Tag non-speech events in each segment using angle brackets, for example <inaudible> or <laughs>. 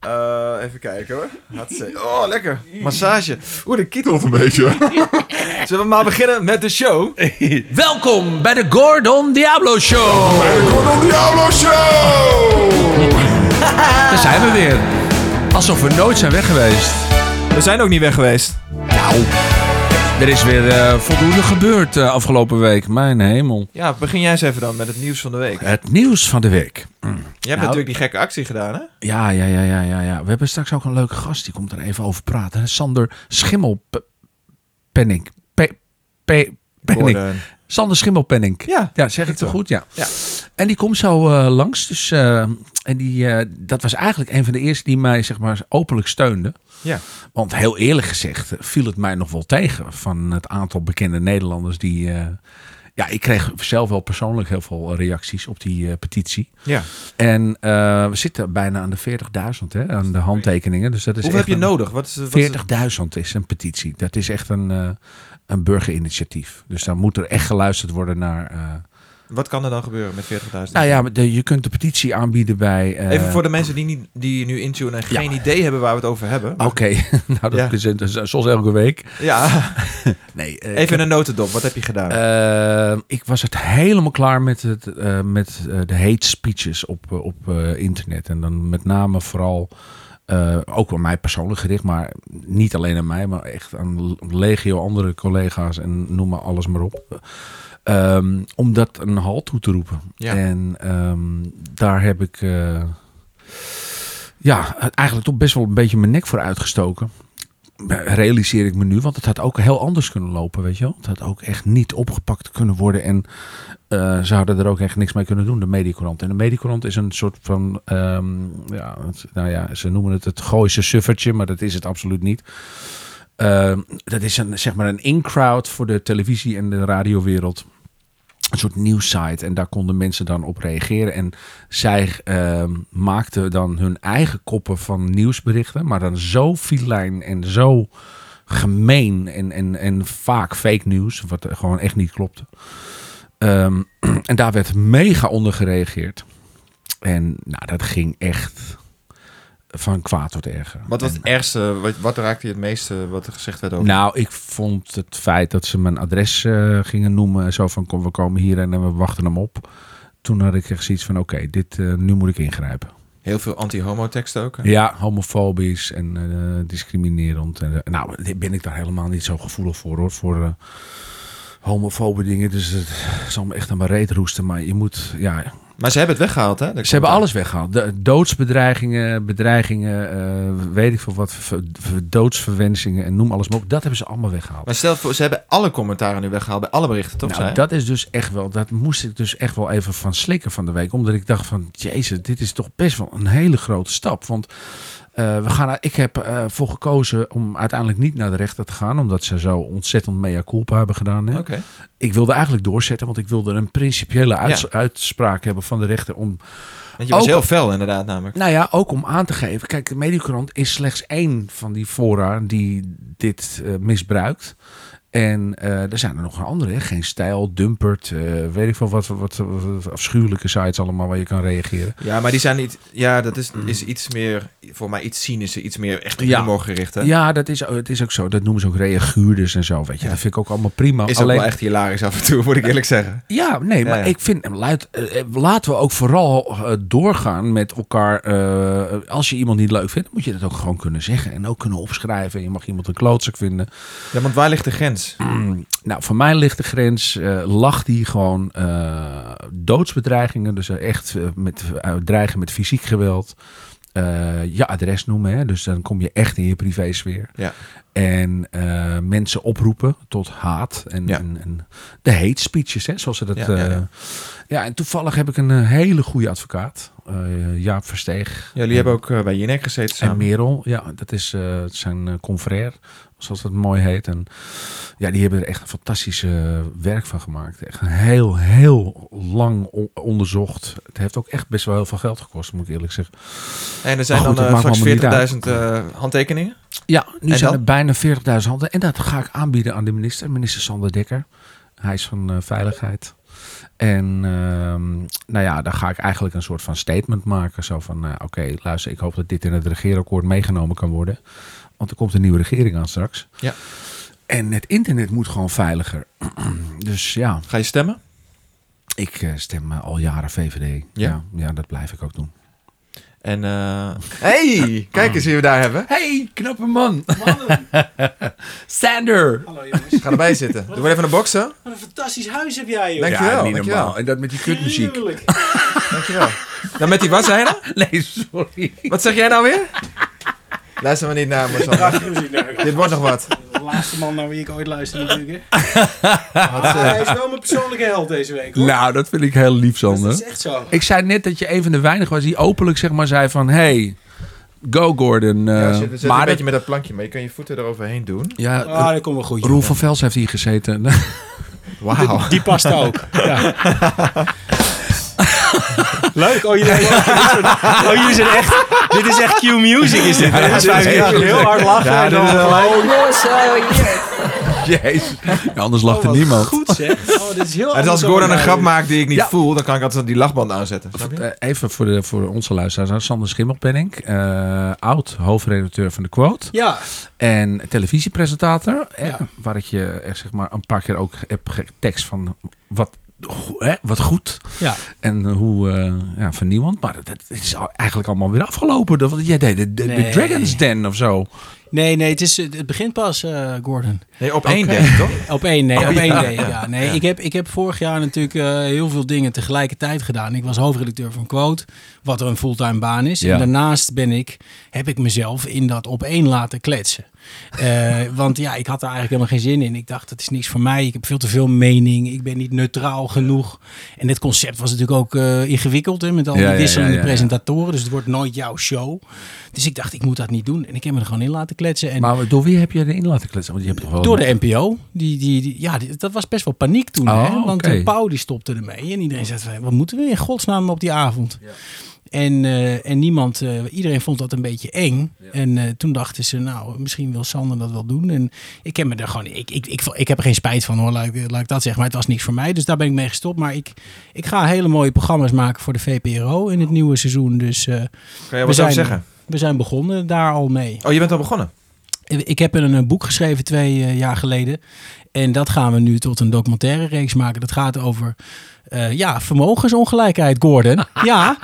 Eh, even kijken hoor. Hartstikke- Oh, lekker. Massage. Oeh, de kietelt. Een beetje. <laughs> Zullen we maar beginnen met de <laughs> show? Welkom bij de Gordon Diablo Show. Gordon Diablo Show! Daar zijn we weer. Alsof we nooit zijn weg geweest. We zijn ook niet weg geweest. Er is weer eh, voldoende gebeurd eh, afgelopen week. Mijn hemel. Ja, begin jij eens even dan met het nieuws van de week. Je Het nieuws van de week. hebt natuurlijk die gekke actie gedaan, hè? Ja, ja, ja, ja, ja, ja. We hebben straks ook een leuke gast. Die komt er even over praten. Sander Schimmelpenning. Pe- Pe- Penning. Gordon. Sander Schimmelpenning. Ja. Ja, zeg ik wel. toch goed? Ja. Ja. En die komt zo eh, langs. Dus, eh, en die, eh, dat was eigenlijk een van de eerste die mij zeg maar, openlijk steunde. Ja. Want heel eerlijk gezegd eh, viel het mij nog wel tegen van het aantal bekende Nederlanders die... eh, ja, ik kreeg zelf wel persoonlijk heel veel reacties op die eh, petitie. ja. En eh, we zitten bijna aan de 40.000 hè, aan de handtekeningen. Dus dat is Hoeveel heb echt je een- nodig? Wat is, wat is- 40.000 is een petitie. Dat is echt een, eh, een burgerinitiatief. Dus dan moet er echt geluisterd worden naar... eh, wat kan er dan gebeuren met 40.000? nou ja, maar de- je kunt de petitie aanbieden bij... eh, Even voor de mensen die, niet, die nu intunen en Ja. geen idee hebben waar we het over hebben. Oké, <laughs> nou dat Ja. is dus zoals elke week. Ja, Nee, eh, even een notendop. Wat heb je gedaan? eh, ik was het helemaal klaar met, het, eh, met eh, de hate speeches op, eh, op eh, internet. En dan met name vooral, eh, ook aan mij persoonlijk gericht, maar niet alleen aan mij, maar echt aan legio andere collega's en noem maar alles maar op. Ehm, om dat een halt toe te roepen. Ja. En ehm, daar heb ik eh, ja, eigenlijk toch best wel een beetje mijn nek voor uitgestoken. Realiseer ik me nu, want het had ook heel anders kunnen lopen, weet je wel. Het had ook echt niet opgepakt kunnen worden en eh, ze hadden er ook echt niks mee kunnen doen, de medicorant. En de medicorant is een soort van, ehm, ja, het- nou ja, ze noemen het het Gooise suffertje, maar dat is het absoluut niet. Ehm, dat is een, zeg maar een in-crowd voor de televisie- en de radiowereld. Een soort nieuwssite. En daar konden mensen dan op reageren. En zij ehm, maakten dan hun eigen koppen van nieuwsberichten. Maar dan zo filijn en zo gemeen. En, en, en vaak fake nieuws. Wat er gewoon echt niet klopte. Ehm, en daar werd mega onder gereageerd. En nou, dat ging echt van kwaad tot erger. wat was En- het ergste? Wat, wat raakte je het meeste wat er gezegd werd over? nou, ik vond het feit dat ze mijn adres eh, gingen noemen. Zo van, kom, we komen hier en eh, we wachten hem op. Toen had ik echt zoiets van, oké, dit eh, nu moet ik ingrijpen. Heel veel anti-homo tekst ook. hè? Ja, homofobisch en eh, discriminerend. En, eh, nou, dit ben ik daar helemaal niet zo gevoelig voor, hoor. Voor eh, homofobe dingen. Dus het zal me echt aan mijn reet roesten. Maar je moet, ja, Maar ze hebben het weggehaald, hè? Dat ze hebben komt- alles weggehaald. De, doodsbedreigingen, bedreigingen, eh, weet ik veel wat, ver- ver- doodsverwensingen en noem alles maar op. Dat hebben ze allemaal weggehaald. Maar stel voor, ze hebben alle commentaren nu weggehaald bij alle berichten, toch? Nou, zij? dat is dus echt wel. Dat moest ik dus echt wel even van slikken van de week. Omdat ik dacht van, jezus, dit is toch best wel een hele grote stap. Want eh, we gaan, ik heb ervoor gekozen om uiteindelijk niet naar de rechter te gaan. Omdat ze zo ontzettend mea culpa hebben gedaan. Hè? Oké. Ik wilde eigenlijk doorzetten, want ik wilde een principiële uits- Ja. uitspraak hebben van de rechter. Om Want je was Ook- heel fel, inderdaad, namelijk. nou ja, ook om aan te geven. Kijk, de Mediocrant is slechts één van die fora die dit eh, misbruikt. En eh, er zijn er nog een andere. Hè? Geen stijl, dumpert, eh, weet ik veel wat, wat, wat, wat afschuwelijke sites allemaal waar je kan reageren. Ja, maar die zijn niet... Ja, dat is, is iets meer... Voor mij iets cynischer, iets meer echt Ja. humor gericht, hè? Ja, dat is, het is ook zo. Dat noemen ze ook reaguurders en zo. Weet je. Dat vind ik ook allemaal prima. Is ook wel echt hilarisch af en toe, moet ik eerlijk zeggen. Ja, nee, maar Ja. ik vind, eh, luid, eh, eh, laten we ook vooral eh, doorgaan met elkaar. eh, als je iemand niet leuk vindt, moet je dat ook gewoon kunnen zeggen. En ook kunnen opschrijven. Je mag iemand een klootzak vinden. Ja, want waar ligt de grens? Nou, voor mij ligt de grens. eh, lag die gewoon eh, doodsbedreigingen. Dus eh, echt eh, met, eh, dreigen met fysiek geweld. Eh, je adres noemen. Hè? Dus dan kom je echt in je privésfeer. Ja. En eh, mensen oproepen tot haat. En, Ja. en, en de hate speeches, hè, zoals ze dat... Ja, Ja, ja, ja. ja, en toevallig heb ik een eh, hele goede advocaat. eh, Jaap Versteeg. Jullie hebben ook eh, bij Jinek gezeten En samen. Merel, ja, dat is eh, zijn eh, confrère, zoals dat mooi heet. En ja, die hebben er echt een fantastische eh, werk van gemaakt. Echt een heel, heel lang on- onderzocht. Het heeft ook echt best wel heel veel geld gekost, moet ik eerlijk zeggen. En er zijn Maar goed, dan dat eh, maakt me allemaal niet straks 40.000 eh, handtekeningen. Ja, nu En zijn dan? er bijna 40.000 handen. En dat ga ik aanbieden aan de minister, minister Sander Dekker. Hij is van eh, Veiligheid. En ehm, nou ja, dan ga ik eigenlijk een soort van statement maken. Zo van, nou, oké, luister, ik hoop dat dit in het regeerakkoord meegenomen kan worden. Want er komt een nieuwe regering aan straks. Ja. En het internet moet gewoon veiliger. <clears throat> dus ja, Ga je stemmen? ik eh, stem eh, al jaren VVD. Ja. ja. Ja, dat blijf ik ook doen. En eh, hey, kijk eens wie we daar hebben. Hey, knappe man. Sander. Hallo jongens. Ga erbij zitten. Doe maar even een boksen. Wat een fantastisch huis heb jij, joh. Dank je wel, niet dank je normaal. wel. En dat met die <laughs> <laughs> kutmuziek. Heerlijk. Dankjewel. Dan met die wasijner. Nee, sorry. Wat zeg jij nou weer? Luister maar niet naar me, <laughs> Sander. Prachtige muziek. nou, Dit wordt nog wat. De laatste man naar wie ik ooit luister natuurlijk. <laughs> hè. Maar hij is wel mijn persoonlijke held deze week. Hoor. Nou, dat vind ik heel lief, dat is Sander. echt zo. Ik zei net dat je een van de weinigen was die openlijk zeg maar zei van... Hey, go Gordon. eh, Ja, zit, zit maar een dat- beetje met dat plankje, maar je kan je voeten eroverheen doen. ja, eh, Ah, dat komt wel goed. joh. Roel van Vels heeft hier gezeten. <laughs> Wauw. Die past ook. <laughs> Ja. Leuk. Oh, jullie, <laughs> oh, jullie zijn echt... Dit is echt Q-music, is dit. hè? dus wij is gaan heel- heel hard lachen. Ja, en dit dan is wel gewoon- Jezus. Ja, anders lacht er Oh, wat niemand. Goed zeg. Oh, dit is heel En als anders dan Gordon een wij grap doen. maakt die ik niet Ja. voel, dan kan ik altijd die lachband aanzetten. Snap je? Eh, Even voor, de, voor onze luisteraars. Sander Schimmelpenning. eh oud hoofdredacteur van de Quote. Ja, En televisiepresentator. eh, Ja. Waar ik je eh, zeg maar een paar keer ook heb getekst van wat, go- hè, wat goed. ja. En hoe eh, ja, van niemand. Maar dat is al- eigenlijk allemaal weer afgelopen. Dat- Want jij deed de, de, de Nee. Dragon's Den of zo. Nee, nee, het, is, het begint pas, eh, Gordon. Nee, op één Oké. denk ik, toch? <laughs> Op één, nee, op Oh, ja. één day. Ja, nee, Ik, heb, ik heb vorig jaar natuurlijk eh, heel veel dingen tegelijkertijd gedaan. Ik was hoofdredacteur van Quote, wat een fulltime baan is. Ja. En daarnaast ben ik, heb ik mezelf in dat op één laten kletsen. Eh, <laughs> want ja, ik had daar eigenlijk helemaal geen zin in. Ik dacht, dat is niks voor mij. Ik heb veel te veel mening. Ik ben niet neutraal genoeg. En dit concept was natuurlijk ook eh, ingewikkeld hè, met al die Ja, ja, ja, wisselende ja, ja. presentatoren. Dus het wordt nooit jouw show. Dus ik dacht, ik moet dat niet doen. En ik heb me er gewoon in laten kletsen. En Maar door wie heb je erin laten kletsen? Want je hebt toch wel... door de NPO. Die, die, die- ja, die- dat was best wel paniek toen. Oh, hè? Want oké. eh, Pauw die stopte ermee. En iedereen zei, van, wat moeten we in godsnaam op die avond? En, eh, en niemand, eh, iedereen vond dat een beetje eng. En eh, toen dachten ze, nou, misschien wil Sander dat wel doen. En ik heb me er gewoon, ik, ik, ik, ik heb er geen spijt van hoor, laat ik, laat ik dat zeggen. Maar het was niks voor mij, dus daar ben ik mee gestopt. Maar ik, ik ga hele mooie programma's maken voor de VPRO Oh. in het nieuwe seizoen. Dus eh, Kan jij We wat over zijn- zeggen? we zijn begonnen daar al mee. Oh, je bent al begonnen. Ik heb een, een boek geschreven twee eh, jaar geleden. En dat gaan we nu tot een documentaire reeks maken. Dat gaat over eh, ja, vermogensongelijkheid, <laughs> Gordon. Ja,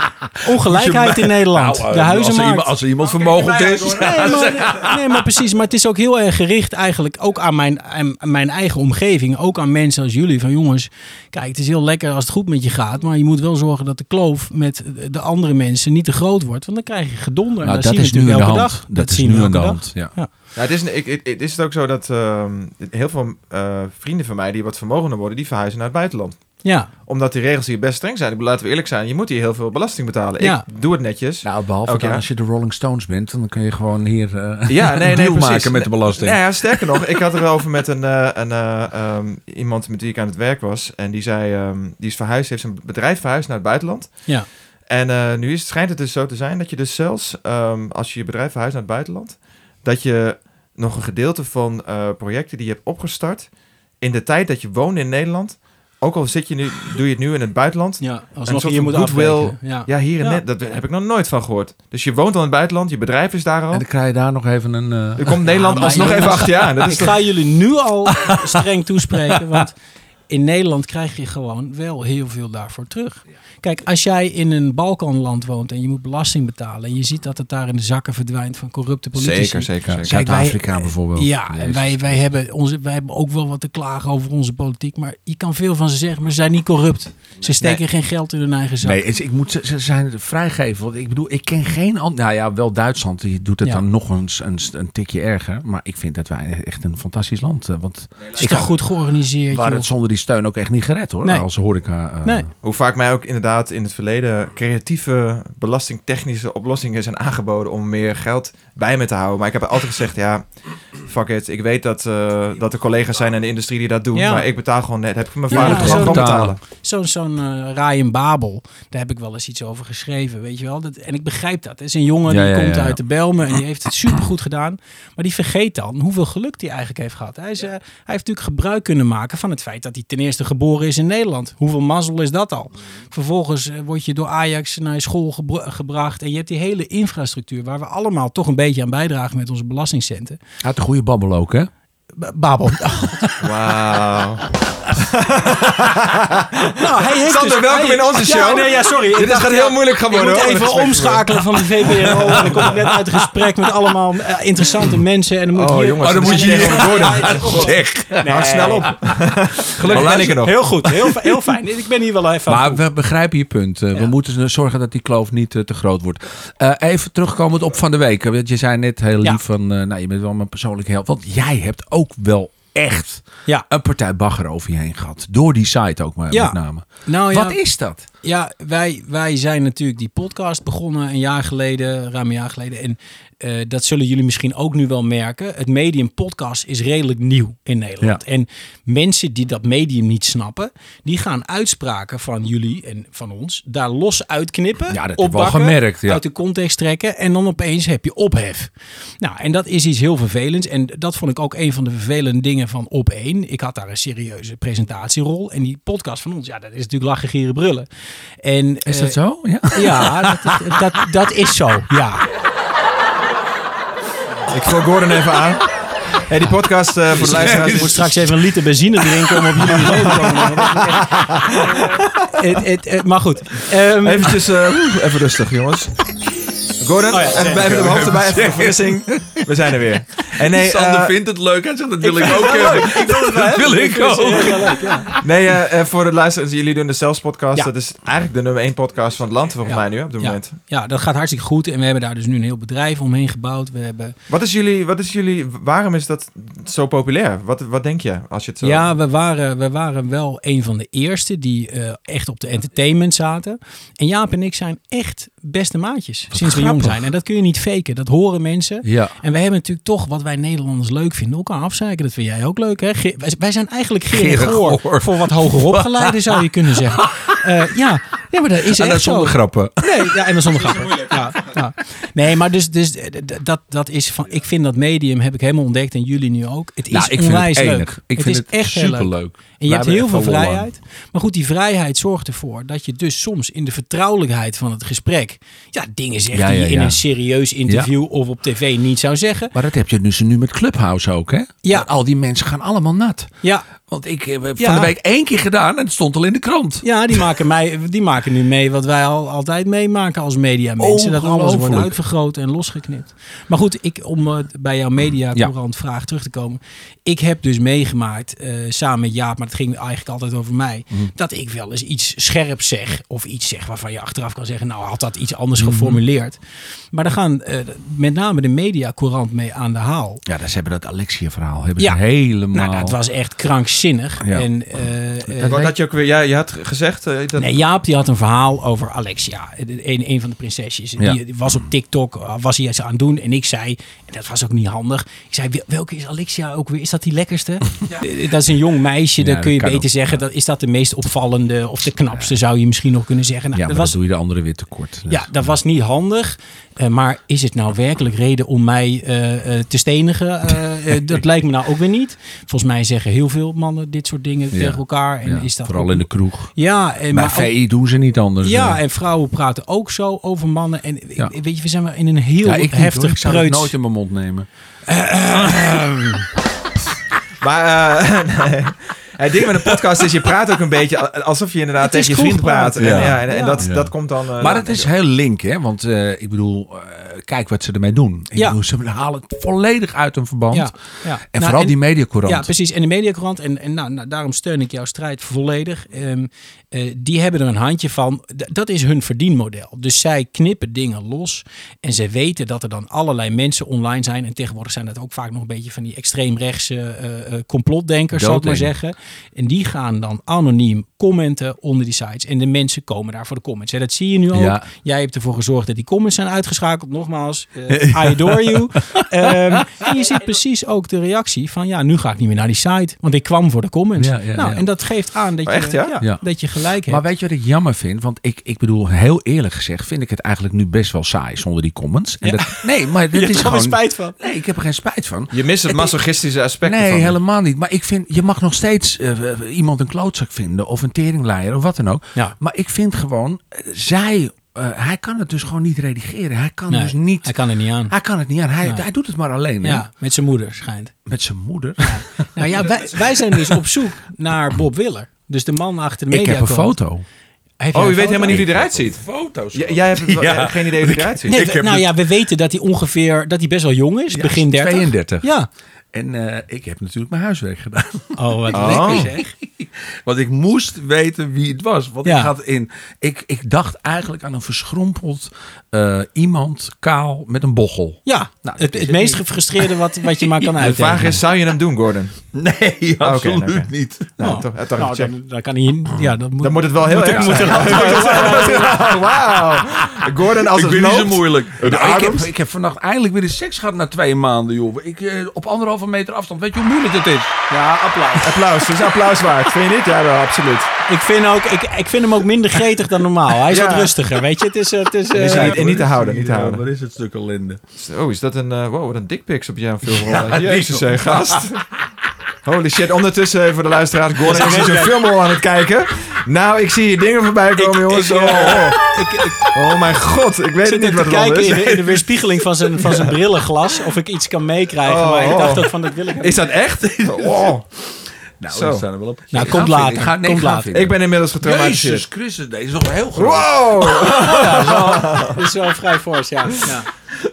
ongelijkheid in Nederland. Nou, eh, Als De er huizenmarkt. iemand, als er iemand vermogend is... Nee <laughs> maar, nee, maar precies. Maar het is ook heel erg gericht eigenlijk ook aan mijn, aan mijn eigen omgeving. Ook aan mensen als jullie. Van jongens, kijk, het is heel lekker als het goed met je gaat. Maar je moet wel zorgen dat de kloof met de andere mensen niet te groot wordt. Want dan krijg je gedonder. Nou, en dat, dat zien we is nu aan natuurlijk de elke hand. dag. Dat is zien we nu aan de elke dag. hand. Ja. Ja, het is, een- ik, ik- het is het ook zo dat ehm, heel veel eh, vrienden van mij die wat vermogender worden, die verhuizen naar het buitenland. Ja, Omdat die regels hier best streng zijn. Ik bedoel, laten we eerlijk zijn, je moet hier heel veel belasting betalen. Ja. Ik doe het netjes. Nou, behalve Elk dan jaar. als je de Rolling Stones bent, dan kun je gewoon hier eh Ja, nee, nee, een deal precies. maken met de belasting. Nou ja, sterker nog, ik had erover met een, eh, een, eh, ehm, iemand met wie ik aan het werk was. En die zei, ehm, die is verhuisd, heeft zijn bedrijf verhuisd naar het buitenland. ja. En eh, nu is, het- schijnt het dus zo te zijn dat je dus zelfs ehm, als je je bedrijf verhuist naar het buitenland, dat je nog een gedeelte van eh, projecten die je hebt opgestart in de tijd dat je woonde in Nederland, ook al zit je nu, doe je het nu in het buitenland. Ja. Ja, Een alsnog soort je van moet goodwill. afrekenen. Ja. hier en Ja. net, dat heb ik nog nooit van gehoord. Dus je woont al in het buitenland, je bedrijf is daar al. En Oh. dan krijg je daar nog even een... eh, Dan komt Nederland maar alsnog jongens, even achter je aan. Dat is Ah, Ik toch- ga jullie nu <laughs> al streng toespreken, want in Nederland krijg je gewoon wel heel veel daarvoor terug. Kijk, als jij in een Balkanland woont en je moet belasting betalen en je ziet dat het daar in de zakken verdwijnt van corrupte politici. zeker, ja, Kijk, wij- Zuid-Afrika bijvoorbeeld. Ja, en Jezus. wij, wij, hebben onze, wij hebben ook wel wat te klagen over onze politiek. Maar je kan veel van ze zeggen, maar ze zijn niet corrupt. Ze steken geen geld in hun eigen zak. Nee, is- ik moet, ze- ze zijn vrijgeven. Want ik bedoel, ik ken geen ander. Nou ja, wel Duitsland. Die doet het Ja. dan nog eens een, een tikje erger. Maar ik vind dat wij echt een fantastisch land. eh, Want het is toch goed georganiseerd. waren joh. het zonder die steun ook echt niet gered hoor. Nee. Als horeca. eh, Nee. Hoe vaak mij ook inderdaad in het verleden creatieve belastingtechnische oplossingen zijn aangeboden om meer geld bij me te houden. Maar ik heb altijd gezegd, ja, fuck it. Ik weet dat, eh, dat er collega's zijn in de industrie die dat doen, Ja. maar ik betaal gewoon net. Heb ik mijn Ja, vader zo gewoon, gewoon betalen. betalen. Zo'n zo'n eh, Ryan Babel, daar heb ik wel eens iets over geschreven, weet je wel. Dat, en ik begrijp dat. Het is een jongen Ja, die ja, ja, komt ja. uit de Belmen en die heeft het supergoed gedaan. Maar die vergeet dan hoeveel geluk hij eigenlijk heeft gehad. Hij, is, eh, hij heeft natuurlijk gebruik kunnen maken van het feit dat hij die ten eerste geboren is in Nederland. Hoeveel mazzel is dat Mm. al? Vervolgens eh, word je door Ajax naar je school gebra- gebracht. En je hebt die hele infrastructuur waar we allemaal toch een beetje aan bijdragen met onze belastingcenten. Hij had een goede babbel ook, hè? Oh, B- Babel. Wauw. nou, hij heeft <laughs> Sander, dus- welkom hij- in onze Ja, show. nee, ja, sorry. <laughs> Ik Dit is- dacht, gaat ja, heel moeilijk gaan eh, Ik worden. moet hoor, met even het gesprek. omschakelen van de VPRO. En dan kom ik net uit een gesprek met allemaal eh, interessante mensen. En dan moet ik Oh, hier- jongens, Oh, dan moet je zit hier echt- worden. <laughs> Ja, Zeg. nee. Nou, snel op. Gelukkig ben ik er nog. Heel goed, heel, fi- heel fijn. Ik ben hier wel even aan Maar toe. we begrijpen je punt. Eh, We Ja. moeten dus zorgen dat die kloof niet eh, te groot wordt. Eh, even terugkomend op van de week. Eh, want Je zei net heel lief Ja. van, eh, nou je bent wel mijn persoonlijke held. Want jij hebt ook wel echt Ja. een partij bagger over je heen gehad. Door die site ook maar, Ja. met name. Nou ja, Wat is dat? ja wij, wij zijn natuurlijk die podcast begonnen een jaar geleden, ruim een jaar geleden. En eh, dat zullen jullie misschien ook nu wel merken. Het medium podcast is redelijk nieuw in Nederland. En mensen die dat medium niet snappen, die gaan uitspraken van jullie en van ons daar los uitknippen. Ja, dat heb ik wel opbakken, gemerkt, ja. Uit de context trekken en dan opeens heb je ophef. Nou, en dat is iets heel vervelends. En dat vond ik ook een van de vervelende dingen van op één. Ik had daar een serieuze presentatierol. En die podcast van ons, ja, dat is natuurlijk lachen, gieren, brullen. En, eh, Is dat zo? <laughs> Ja. Ja, dat, is- dat, dat is zo, ja. Ik voel Gordon even aan. Hey, die podcast eh, voor de Ik moet luisteraars. straks even een liter benzine drinken om op jullie niveau te komen. Het- het- het- Maar goed. Ehm, Eventjes, eh, oeh, even rustig, <laughs> jongens. Gordon, Oh ja, even, zeker. even de hoofd erbij, even de verfrissing. We zijn er weer. En nee, eh, vindt het leuk. Hij zegt, dat wil ik <laughs> ook Dat wil ik ook. nee eh, eh, voor de luisteraars, jullie doen de Zelfs podcast. Ja. Dat is eigenlijk de nummer 1 podcast van het land, volgens Ja. mij nu, hè, op dit ja, moment. ja, dat gaat hartstikke goed. En we hebben daar dus nu een heel bedrijf omheen gebouwd. We hebben Wat is jullie, wat is jullie, waarom is dat zo populair? Wat, wat denk je als je het zo... Ja, we waren, we waren wel een van de eerste die eh, echt op de entertainment zaten. En Jaap en ik zijn echt beste maatjes sinds we jong grappig. zijn. En dat kun je niet faken, dat horen mensen. Ja. En we hebben natuurlijk toch wat wij Nederlanders leuk vinden, elkaar afzeiken. Dat vind jij ook leuk, hè? Ge- wij- wij zijn eigenlijk Gerard Gerard Goor Goor. voor wat hoger opgeleiden, zou je kunnen zeggen. <laughs> Eh, ja. ja, maar dat is En echt Ah, dat zo. zonder grappen. Nee, ja, en dan zonder grappen. Ja, ja. Nee, maar dus, dus eh, d- dat, dat is van. Ik vind dat medium heb ik helemaal ontdekt en jullie nu ook. Het is Nou, ik vind onwijs het leuk. enig. Ik vind is het echt heel leuk. superleuk. En Wij je hebt hebben heel veel echt wel lol aan. vrijheid. Maar goed, die vrijheid zorgt ervoor dat je dus soms in de vertrouwelijkheid van het gesprek. ja, dingen zegt Ja, die ja, je in ja. een serieus interview of op tv niet zou zeggen. Maar dat heb je dus nu met Clubhouse ook, hè? Ja. Al die mensen gaan allemaal nat. Ja, Want ik heb eh, van Ja. de week één keer gedaan en het stond al in de krant. ja die, maken mij, die maken nu mee wat wij al, altijd meemaken als mediamensen. Dat alles wordt Ongelooflijk. uitvergroot en losgeknipt. Maar goed, ik, om eh, bij jouw mediacourant vraag terug te komen. Ik heb dus meegemaakt, eh, samen met Jaap, maar het ging eigenlijk altijd over mij. Mhm. Dat ik wel eens iets scherps zeg. Of iets zeg waarvan je achteraf kan zeggen, nou had dat iets Mhm. anders geformuleerd. Maar daar gaan eh, met name de mediacourant mee aan de haal. Ja, dat ze hebben dat Alexia-verhaal hebben Ja. ze helemaal... Nou, dat was echt krankzinnig. Ja. En, eh, eh, Wat had je ook weer, jij, je had gezegd... eh, dat, Nee, Jaap die had een verhaal over Alexia, de- een, een van de prinsesjes. Ja. Die was op TikTok, uh, was hij iets aan het doen. En ik zei, en dat was ook niet handig. Ik zei, wel- welke is Alexia ook weer? Is dat die <laughs> lekkerste? Eh, Dat is een jong meisje, Ja, dan dat kun je kan beter ook. zeggen. Dat, is dat de meest opvallende of de knapste, zou je misschien nog kunnen zeggen. Nou, ja, maar dan dat was, doe je de andere weer tekort. ja, dat was niet handig. Eh, maar is het nou werkelijk reden om mij eh, eh, te stenigen? <laughs> Eh, eh, dat lijkt me nou ook weer niet. Volgens mij zeggen heel veel mannen dit soort dingen Ja. tegen elkaar. En Ja, is dat Vooral ook- in de kroeg. Ja, en Bij maar ook- VI doen ze niet anders. ja, Eh, en vrouwen praten ook zo over mannen. En ik- Ja. weet je, we zijn wel in een heel ja, ik, niet, hoor. heftig ik zou het preuts- nooit in mijn mond nemen. Maar eh, <laughs> nee. het ding met een podcast is, je praat ook een beetje al- alsof je inderdaad Het is tegen je cool vriend praat. gepraat. En, Ja. ja, en, en Ja. Dat, Ja. dat komt dan... eh, Maar het is heel link, hè? Want eh, ik bedoel, eh, kijk wat ze ermee doen. Ik Ja. bedoel, ze halen het volledig uit hun verband. Ja, ja. Nou, Nou, En vooral die mediacourant. Ja, precies. En de mediacourant, en, en nou, nou, daarom steun ik jouw strijd volledig. Ehm, eh, die hebben er een handje van. D- dat is hun verdienmodel. Dus zij knippen dingen los. En zij weten dat er dan allerlei mensen online zijn. En tegenwoordig zijn dat ook vaak nog een beetje van die extreemrechtse eh, eh, complotdenkers, zal ik maar Doodeng. zeggen. En die gaan dan anoniem commenten onder die sites. En de mensen komen daar voor de comments. Hè, dat zie je nu ook. Ja. Jij hebt ervoor gezorgd dat die comments zijn uitgeschakeld. Nog <laughs> nogmaals, eh, I adore you. Ehm, en je ziet precies ook de reactie van, ja, nu ga ik niet meer naar die site. Want ik kwam voor de comments. Ja, ja, nou, ja. en dat geeft aan dat, Oh, je, echt, ja? Ja. dat je gelijk hebt. Maar weet je wat ik jammer vind? Want ik, ik bedoel, heel eerlijk gezegd, vind ik het eigenlijk nu best wel saai zonder die comments. En dat, nee, <laughs> maar dit Je is hebt er gewoon... gewoon spijt van. Nee, ik heb er geen spijt van. Je mist het masochistische aspect Nee, ervan. helemaal niet. Maar ik vind, je mag nog steeds eh, iemand een klootzak vinden of een teringleier of wat dan ook. Ja. Maar ik vind gewoon, eh, zij, eh, hij kan het dus gewoon niet redigeren. Hij kan Nee, dus niet, Hij hij, kan er niet aan. kan het niet aan. Hij, Nee. hij doet het maar alleen, hè? Ja, met zijn moeder schijnt. met zijn moeder. <laughs> Nou ja, wij, wij zijn dus op zoek naar Bob Willer. Dus de man achter de Ik media. heb een foto. Oh, je weet helemaal niet hoe die eruit ziet. Foto's? J- jij hebt wel- eh, Ja. geen idee hoe die eruit ziet. Nee, Ik heb nou het- ja, we weten dat hij ongeveer, dat hij best wel jong is, Ja, begin 30. 32. Ja. En eh, ik heb natuurlijk mijn huiswerk gedaan. Oh, wat Oh. lekker zeg. Want ik moest weten wie het was. Want Ja. ik, had in, ik, ik dacht eigenlijk aan een verschrompeld eh, iemand kaal met een bochel. Ja, Nou, het, dat het is meest het niet. gefrustreerde wat, wat je maar kan De uitleggen. vraag is, zou je hem doen, Gordon? <laughs> Nee, absoluut oké. niet. Nou, Oh. toch, eh, toch nou, even checken. dan, dan kan hij... Ja, dat moet, Dan moet het wel heel erg moet zijn. <laughs> Wauw. Gordon, als Ik het ben niet loopt... zo moeilijk. Nou, ik, heb, ademt. ik heb vannacht eindelijk weer de seks gehad na twee maanden, joh. Ik, eh, op anderhalve meter afstand. Weet je hoe moeilijk het is? Ja, applaus. Applaus, dat is applaus waard. Vind je niet? Ja, wel, absoluut. Ik vind, ook, ik, ik vind hem ook minder gretig dan normaal. Hij is Ja. wat rustiger, weet je. Het is... eh, <laughs> Het is, eh, Is hij niet- en niet te houden, niet te Ja, houden. Waar is het <laughs> stuk ellende? Oh, is dat een... eh, wow, wat een dickpics op jouw filmrol. Ja, Jezus, die- hè, gast. <laughs> Holy shit. Ondertussen even voor de luisteraars. Gordon is dus in zijn filmrol aan het kijken. Nou, ik zie hier dingen voorbij komen, jongens. oh, oh. oh mijn god. Ik weet Ik het zit niet er wat te het allemaal kijken is. in de, in de weerspiegeling van zijn, van zijn brillenglas of ik iets kan meekrijgen. Oh, maar ik oh. dacht ook van, dat wil ik Is dat echt? Oh. Nou, Zo. we staan er wel op. Nou, Ik komt ga vinden. later. Ik ga, nee, Komt ik ga later. vinden. Ik ben inmiddels getraumatiseerd. Oh. Jezus Christus, deze is nog heel groot. Wow! Dat is wel <laughs> vrij fors, ja. ja.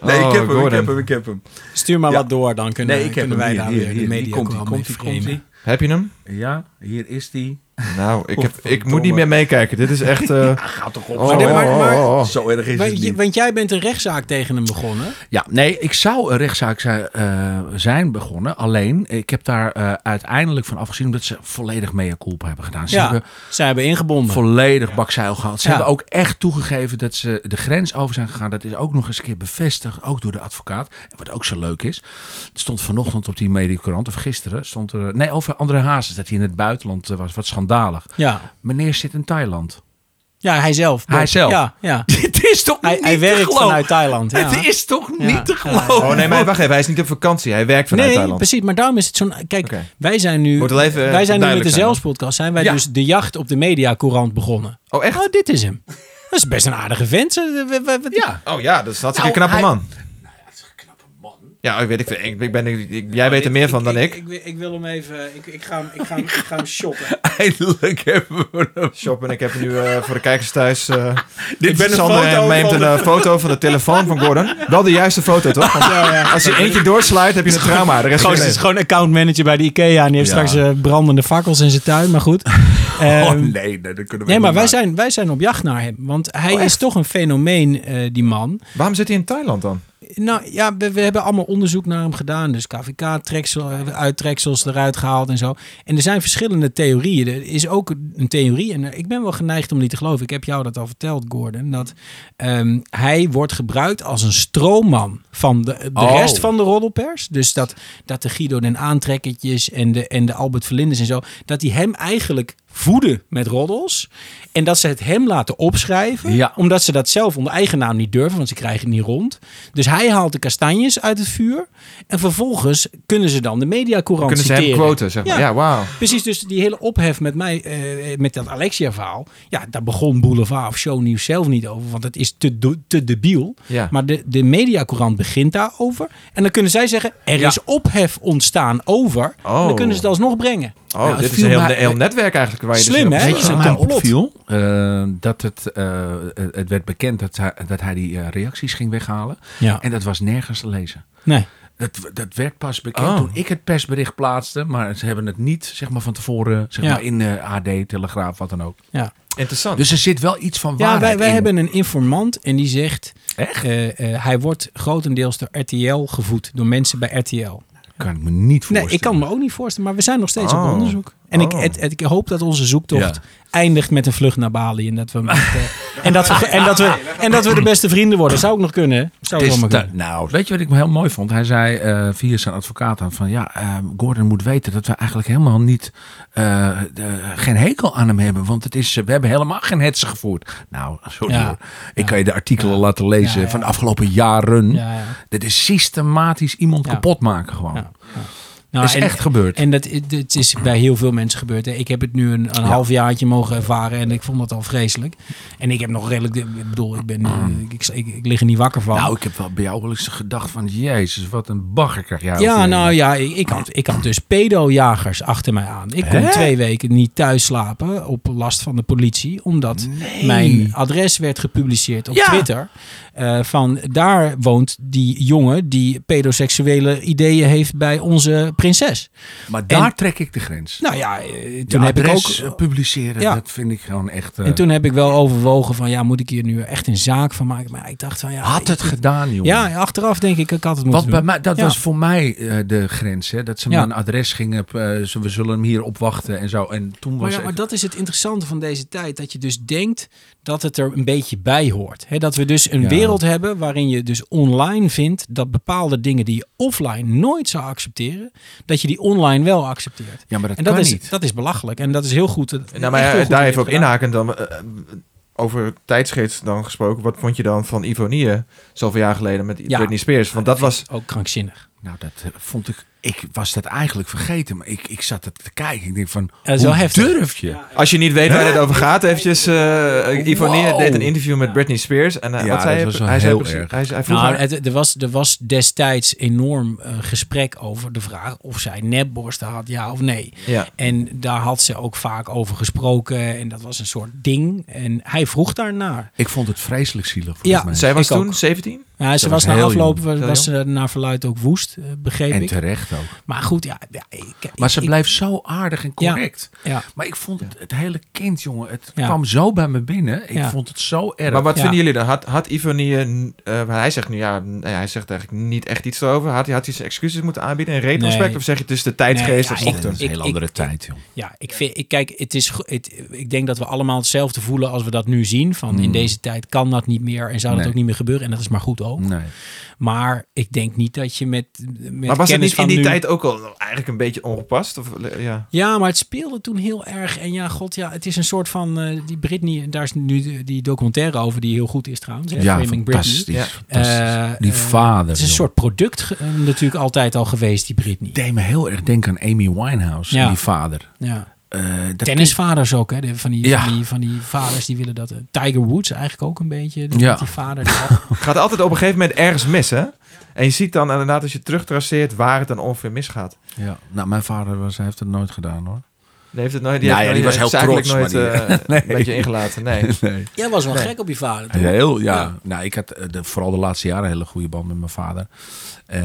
Nee, Oh, ik heb hem, ik Gordon. heb hem, ik heb hem. Stuur maar Ja. wat door, dan kunnen, Nee, ik heb Nou, kunnen hem. wij Hier, daar hier, weer de hier. media Die komt, ook die wel komt, mee die komt, framen. Heb je hem? Ja, hier is die. Nou, ik, heb, ik moet niet meer meekijken. Dit is echt... eh, Ah, Gaat toch <laughs> op. oh, zo, maar- maar- oh, maar- oh, oh. zo erg is Want het je- niet. Want jij bent een rechtszaak tegen hem begonnen. Ja, nee, ik zou een rechtszaak zijn, eh, zijn begonnen. Alleen, ik heb daar eh, uiteindelijk van afgezien omdat ze volledig mea culpa hebben gedaan. Ze ja, hebben zij hebben ingebonden. volledig bakzeil gehad. Ze Ja. hebben ook echt toegegeven dat ze de grens over zijn gegaan. Dat is ook nog eens een keer bevestigd, ook door de advocaat. En wat ook zo leuk is, het stond vanochtend op die mediocrant, of gisteren, stond er... Nee, over André Hazes, dat hij in het buitenland eh, was. Wat schandalig. Ja. Meneer zit in Thailand. ja, hij zelf. Hij zelf. Ja, ja. <laughs> Het is toch Hij, niet hij te werkt geloven? vanuit Thailand. Ja. Het is toch Ja. niet te Ja. geloven? Oh nee, maar wacht even. Hij is niet op vakantie. Hij werkt vanuit nee, Thailand. precies. Maar daarom is het zo'n... Kijk, Oké. wij zijn nu... Moet wel even, eh, wij zijn nu met duidelijk de zijn, Zelfspodcast. Zijn wij Ja. dus de jacht op de mediacourant begonnen. Oh echt? Oh, dit is hem. Dat is best een aardige vent. Ze- we- we- we- Ja. Oh ja, dat is hartstikke Nou, knappe hij- man. Ja, oh, ik weet ik, veel. ik, ik ben, ik- ik- jij weet er meer van dan ik. Ik, wil hem even... Ik, ik, ga, hem, ik, ga, hem, ik <laughs> ga hem shoppen. Eindelijk hebben we hem. Shop en ik heb nu eh, voor de kijkers thuis. eh Dit is Sander Sander en neemt Meemte een eh, foto van de telefoon van Gordon. Wel de juiste foto toch? Want Als je eentje doorslaat, heb je een trauma. De rest Goos is is het gewoon accountmanager bij de IKEA. En die heeft Ja. straks eh, brandende fakkels in zijn tuin. Maar <laughs> goed. Ehm, <laughs> Oh nee, nee, dat kunnen we nee, maar niet wij maken. zijn, wij zijn op jacht naar hem. Want Oh, hij is toch een fenomeen, eh, die man. Waarom zit hij in Thailand dan? Nou ja, we, we hebben allemaal onderzoek naar hem gedaan. Dus KVK-treksel, uittreksels eruit gehaald en zo. En er zijn verschillende theorieën. Er is ook een theorie, en eh, ik ben wel geneigd om die te geloven. Ik heb jou dat al verteld, Gordon. Dat ehm, hij wordt gebruikt als een stroomman van de, de Oh. rest van de roddelpers. Dus dat, dat de Guido den Aantrekkertjes en de, en de Albert Verlinders en zo... dat die hem eigenlijk voeden met roddels. En dat ze het hem laten opschrijven. Ja. Omdat ze dat zelf onder eigen naam niet durven, want ze krijgen het niet rond. Dus hij haalt de kastanjes uit het vuur. En vervolgens kunnen ze dan de mediacourant Kunnen ze citeren. hem quoten, zeg maar. Ja. Ja, wauw. Precies, dus die hele ophef met mij, eh, met dat Alexia-verhaal. Ja, daar begon Boulevard of Shownieuws zelf niet over, want het is te, do- te debiel. Ja. Maar de, de mediacourant begint daarover. En dan kunnen zij zeggen, er Ja. is ophef ontstaan over. En dan Oh. kunnen ze het alsnog brengen. Oh, Ja, het dit is viel een heel, mij- heel netwerk eigenlijk. Waar je Slim, dus hè? op- Weet je Ja. wat mij Complot. opviel? Eh, dat het, eh, het werd bekend dat hij, dat hij die eh, reacties ging weghalen. Ja. En dat was nergens te lezen. Nee. Dat, dat werd pas bekend Oh. toen ik het persbericht plaatste. Maar ze hebben het niet zeg maar, van tevoren zeg Ja. maar, in eh, AD, Telegraaf, wat dan ook. Ja, Interessant. Dus er zit wel iets van ja waarheid wij, wij in. hebben een informant en die zegt, Echt? eh, eh, hij wordt grotendeels door RTL gevoed. Door mensen bij RTL. Kan ik me niet Nee, voorstellen. ik kan me ook niet voorstellen, maar we zijn nog steeds Oh. op onderzoek. En ik, Oh. het, het- ik hoop dat onze zoektocht Ja. eindigt met een vlucht naar Bali. En dat we, <laughs> met, eh, en dat we, en dat we, en dat we de beste vrienden worden. Zou ook nog kunnen. hè? Zou Het ook is allemaal te- kunnen. nou, weet je wat ik me heel mooi vond? Hij zei eh, via zijn advocaat aan van ja, eh, Gordon moet weten dat we eigenlijk helemaal niet eh, de- geen hekel aan hem hebben, want het is, eh, we hebben helemaal geen hetze gevoerd. Nou, sorry Ja. hoor. Ik kan je de artikelen laten lezen Ja, ja. van de afgelopen jaren. Ja, ja. Dit is systematisch iemand Ja. kapot maken gewoon. Ja. Dat Nou, is en- echt gebeurd. En dat, het is bij heel veel mensen gebeurd. hè. Ik heb het nu een, een half jaartje mogen ervaren en ik vond dat al vreselijk. En ik heb nog redelijk, ik bedoel, ik, ben, eh, ik, ik, ik lig er niet wakker van. Mm. nou, ik heb wel bij jou wel eens gedacht van jezus, wat een bagger krijg jij. over ja, je. nou ja, ik, ik, had, ik had dus pedojagers achter mij aan. Ik kon Hè? twee weken niet thuis slapen op last van de politie, omdat mijn adres werd gepubliceerd op Ja. Twitter. eh, van daar woont die jongen die pedoseksuele ideeën heeft bij onze prinses. Maar daar en- trek ik de grens. Nou ja, eh, De toen heb ik adres, ook eh, publiceren, Ja. dat vind ik gewoon echt... eh, En toen heb ik wel overwogen van, ja, moet ik hier nu echt een zaak van maken? Maar ik dacht van, ja... had het ik- gedaan, jongen. Ja, achteraf denk ik, ik had het Wat moeten bij doen. mij, dat Ja. was voor mij eh, de grens. Hè? Dat ze me Ja. een adres gingen. eh, ze- we zullen hem hier opwachten en zo. En toen was Maar, ja, ik- maar dat is het interessante van deze tijd. Dat je dus denkt dat het er een beetje bij hoort. Hè, dat we dus een Ja. wereld hebben waarin je dus online vindt... dat bepaalde dingen die je offline nooit zou accepteren... dat je die online wel accepteert. ja, maar dat, en dat kan is, niet. dat is belachelijk. En dat is heel goed. Nou, maar ja, daar even op inhakend dan. eh, eh, over tijdsgids dan gesproken. Wat vond je dan van Ivonie eh, zoveel jaar geleden met Ja. Britney Spears? Want dat was... Ook krankzinnig. Nou, dat eh, vond ik. Ik was dat eigenlijk vergeten. Maar ik, ik zat het te kijken. Ik denk van. Dat is hoe wel Eh, heftig. durf je? Als je niet weet waar het over gaat, eventjes... eh Ivonie Wow. deed een interview met Britney Spears. En eh, Ja, wat dat zei hij? was wel hij zei heel precies- erg. Hij, zei- hij vroeg Nou, haar- het- er, was, er was destijds enorm eh, gesprek over de vraag of zij nepborsten had, ja of nee. ja. En daar had ze ook vaak over gesproken en dat was een soort ding. En hij vroeg daarnaar. Ik vond het vreselijk zielig. volgens Ja, mij. Zij was ik ook. toen 17? Ja, ze was was na heel afloop, jong. Heel was ze naar verluid ook woest, eh, begreep En ik. terecht ook. Maar goed, ja. ja, ik, Maar ze ik- blijft zo aardig en Ja. correct. Ja. Maar ik vond het, het hele kind, jongen. Het Ja. kwam zo bij me binnen. Ik Ja. vond het zo erg. Maar wat Ja. vinden jullie dan? Had, had Ivonie, eh, hij zegt nu ja, nee, hij zegt eigenlijk niet echt iets erover. Had, hij- had hij zijn excuses moeten aanbieden in retrospect? Nee. Of zeg je het is de tijdsgeest? Nee, of ja, zo? ik- dat is een heel ik- andere ik- tijd, joh. Ja, ik, vind, ik, kijk, het is, go- het, ik denk dat we allemaal hetzelfde voelen als we dat nu zien. Van Mm. in deze tijd kan dat niet meer en zou dat Nee. ook niet meer gebeuren. En dat is maar goed Mm. ook. Nee. Maar ik denk niet dat je met, met maar was het kennis niet van in die nu- tijd ook al eigenlijk een beetje ongepast? Of, eh, ja. Ja, maar het speelde toen heel erg. En ja, god, ja, het is een soort van... eh, die Britney, daar is nu de- die documentaire over die heel goed is trouwens. hè, Ja, Framing fantastisch. Britney. Ja. fantastisch. Eh, die eh, vader. Het is een joh. soort product ge- eh, natuurlijk altijd al geweest, die Britney. deed me heel erg denken aan Amy Winehouse, Ja. die vader. Ja. Eh, dat Tennisvaders ook, hè? de- Van die, Ja. van, die, van die vaders die willen dat. eh, Tiger Woods eigenlijk ook een beetje. Die, Ja. die vader. die <laughs> al- Gaat altijd op een gegeven moment ergens mis, hè? En je ziet dan inderdaad als je terugtraceert waar het dan ongeveer misgaat. kind- ja. Nou, mijn vader was, hij heeft het nooit gedaan hoor. Die heeft het nooit. Die, Nou heeft ja, nooit- die was heel heeft trots, eigenlijk nooit <laughs> maar eh, een beetje ingelaten. Nee. <laughs> Nee. Jij was wel Nee. gek op je vader. toch? Heel, ja. Nou, ik had eh, de, vooral de laatste jaren een hele goede band met mijn vader. Ehm,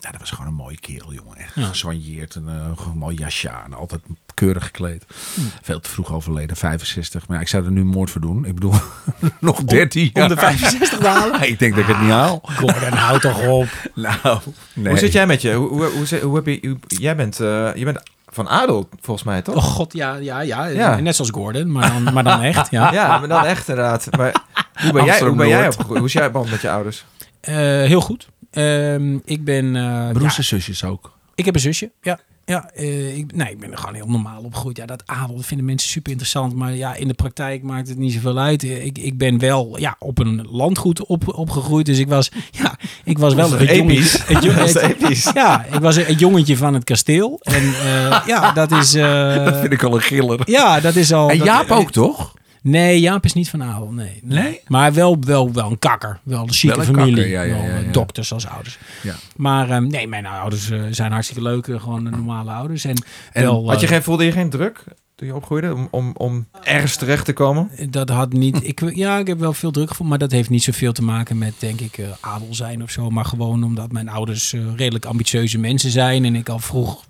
ja, dat was gewoon een mooie kerel, jongen. Echt Ja. gesoigneerd, een, eh, een mooi jasje aan, altijd keurig gekleed. Hm. Veel te vroeg overleden, 65. Maar ja, ik zou er nu moord voor doen. Ik bedoel, <laughs> nog 13 Om jaar. de 65 te <laughs> halen. ik denk dat ik het niet haal. Gordon, houd toch op. <laughs> Nou, nee. Hoe zit jij met je? Hoe, hoe, hoe, zit- hoe heb je, hoe- jij bent, eh, je bent van adel, volgens mij, <laughs> toch? Oh god, ja, ja, ja. eh, Ja. Net zoals Gordon, maar dan, maar dan echt. Ja. Ja, maar dan echt inderdaad. Maar hoe ben jij, hoe ben jij opgegroeid? Hoe is jij band met je <laughs> ouders? Eh, heel goed. Ehm, ik ben... eh, Broers ja, en zusjes ook. ik heb een zusje, ja. Ja, eh, ik, nee, ik ben er gewoon heel normaal opgegroeid. Ja, dat adel dat vinden mensen super interessant. Maar ja, in de praktijk maakt het niet zoveel uit. Eh, Ik, ik ben wel ja, op een landgoed op, opgegroeid. Dus ik was, <laughs> ja, ik was wel Dat is het jongetje. episch. het jo- Dat is het- episch. ja, ik was het jongetje van het kasteel. En eh, ja, dat is. eh, Dat vind ik al een giller. Ja, dat is al. En dat- Jaap ook, toch? Nee, Jaap is niet van adel, nee. Nee? Maar wel, wel, wel een kakker. Wel een zieke Wel een familie. kakker, ja, ja, Wel, ja, eh, ja. dokters als ouders. Ja. Maar ehm, nee, mijn ouders eh, zijn hartstikke leuk. eh, gewoon eh, normale ouders. En, En wel, Had je eh, geen, voelde je geen druk toen je opgroeide om, om, om ergens terecht te komen? Hmm. dat had niet. Ik, <laughs> ja, ik heb wel veel druk gevoeld, maar dat heeft niet zoveel te maken met, denk ik, eh, adel zijn of zo. Maar gewoon omdat mijn ouders eh, redelijk ambitieuze mensen zijn en ik al vroeg.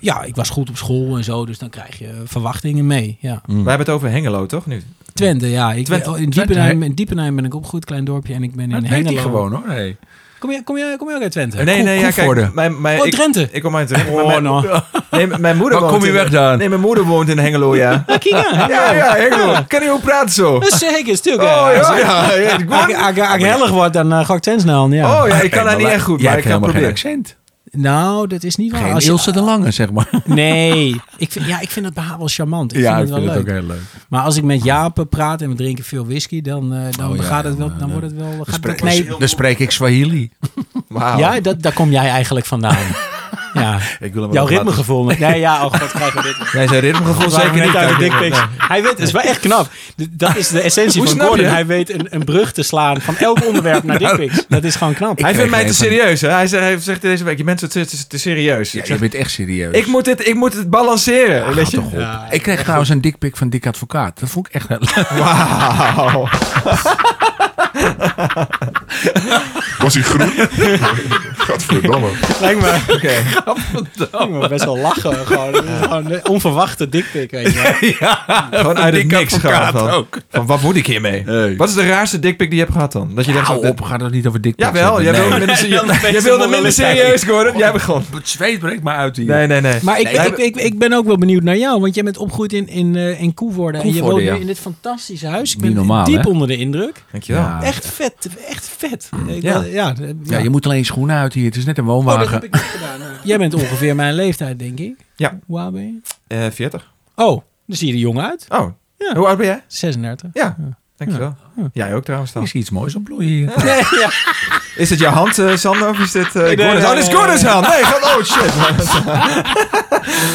Ja, ik was goed op school en zo, dus dan krijg je verwachtingen mee. Ja. We hebben het over Hengelo, toch? Nu. Twente, ja. Ik ben- Twente- in, Diepenheim, in Diepenheim ben ik opgegroeid, klein dorpje. En ik ben in dat weet hij Hengelo. gewoon hoor. Hey. Kom jij, kom jij, kom jij ook uit Twente? nee, Koe- nee, ja, kijk, Koevoorde. mijn, mijn, Oh, ik, Drenthe. ik kom uit Drenthe. maar Oh, mijn, nou. nee, mijn moeder Waar woont kom je in- weg dan? Nee, mijn moeder woont in Hengelo, <laughs> ja. Kika. Ja, ja, Hengelo. Kan je ook praten zo? Oh, Zeker, stuk. ja, ja. ja, ik Als word- ik- als ik- als ik hellig word, dan eh, ga ik ten snel. Ja. Oh ja, ik kan daar niet echt goed, Jij maar hebt ik kan helemaal geen proberen. accent. Nou, dat is niet waar. Geen Als je- Ilse de Lange, zeg maar. Nee, ik vind, ja, ik vind het behaal wel <laughs> charmant. Ik vind het wel leuk. heel leuk. Maar als ik met Jaap praat en we drinken veel whisky, dan, eh, dan Oh, ja, gaat het ja, wel, maar dan dan- wordt het wel. Dan Gaat spreek, het, nee, dan spreek ik Swahili. Wauw. ja, dat, daar kom jij eigenlijk vandaan. <laughs> ja. Ik wil hem Jouw wel laten- <laughs> ritmegevoel. Nee, ja, oh god, krijgen we dit. Jij zijn ritmegevoel Waarom zeker niet uit de uit. dickpics. Hij weet, het is wel echt knap. D- Dat is de essentie Hoe van snap Gordon. je? Hij weet een, een brug te slaan van elk onderwerp naar dickpics. Dat is gewoon knap. Hij Nou, Ik vindt kreeg mij te even- serieus, hè? Hij zegt, hij zegt deze week, je bent zo te, te- te serieus. Ja, ik, je zeg, bent echt serieus. ik, moet dit, ik moet het balanceren. Ah, weet je? toch op. Ja, ik kreeg trouwens een dikpik van Dick Advocaat. Dat vond ik echt heel leuk. Wauw. Was hij groen? Gadverdamme. Lijkt <laughs> me. Oké. <laughs> Ik moet best wel lachen. Gewoon, Het is gewoon een onverwachte dikpik, weet je wel. Gewoon uit het Dick niks Advocaat gaan. Van, ook. van, wat moet ik hiermee? Hey. Wat is de raarste dickpic die je hebt gehad dan? Dat je denkt, Hou zo- op, gaat het niet over dikpik. Jawel, jij wilde <laughs> minder, Jij wilde jij best wilde minder een monoloog serieus worden. Jij begon. Het zweet breekt maar uit hier. Nee, nee, nee. Maar ik, Nee, ik, ik, ik ben ook wel benieuwd naar jou, want jij bent opgegroeid in, in, eh, in Koevoorde. En je Koevoorde, woont ja. nu in dit fantastische huis. Ik Niet ben normaal, diep hè? onder de indruk. Dankjewel. Ja. Echt vet, echt vet. Ik Ja. wil- ja, eh, Ja, ja. je moet alleen schoenen uit hier. Het is net een Oh, dat woonwagen. heb ik niet gedaan. hè. Jij bent ongeveer mijn leeftijd, denk ik. Ja. Hoe oud ben je? Eh, 40. Oh, dan zie je er jong uit. Oh, Ja. hoe oud ben jij? 36. Ja, dankjewel. Jij ook trouwens dan. Is iets moois aan bloeien hier. <laughs> Nee, ja. Is het jouw hand, eh, Sander, of is dit... eh Gordon's nee, hand? dit is nee, Gordon's hand! Nee, gaat, oh shit.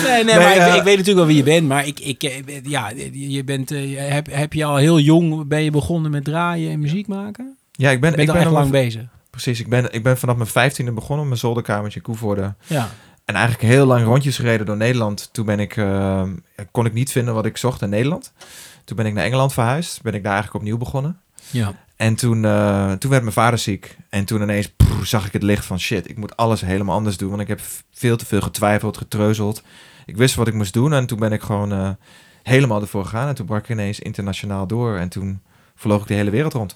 nee, nee, Nee, maar ik- eh, ik, weet natuurlijk wel wie je bent. Maar ik, ik, eh, ja, je bent, eh, heb, heb je al heel jong ben je begonnen met draaien en muziek <laughs> maken? Ja, ik ben, Je ik bent al ben echt al- lang bezig. Precies, ik ben, ik ben vanaf mijn vijftiende begonnen op mijn zolderkamertje in Koevoorde. Ja. En eigenlijk heel lang rondjes gereden door Nederland. Toen ben ik, eh, kon ik niet vinden wat ik zocht in Nederland. Toen ben ik naar Engeland verhuisd. Ben ik daar eigenlijk opnieuw begonnen. ja. En toen, eh, toen werd mijn vader ziek. En toen ineens pff, zag ik het licht van shit, ik moet alles helemaal anders doen. Want ik heb veel te veel getwijfeld, getreuzeld. Ik wist wat ik moest doen en toen ben ik gewoon eh, helemaal ervoor gegaan. En toen brak ik ineens internationaal door. En toen vloog ik de hele wereld rond.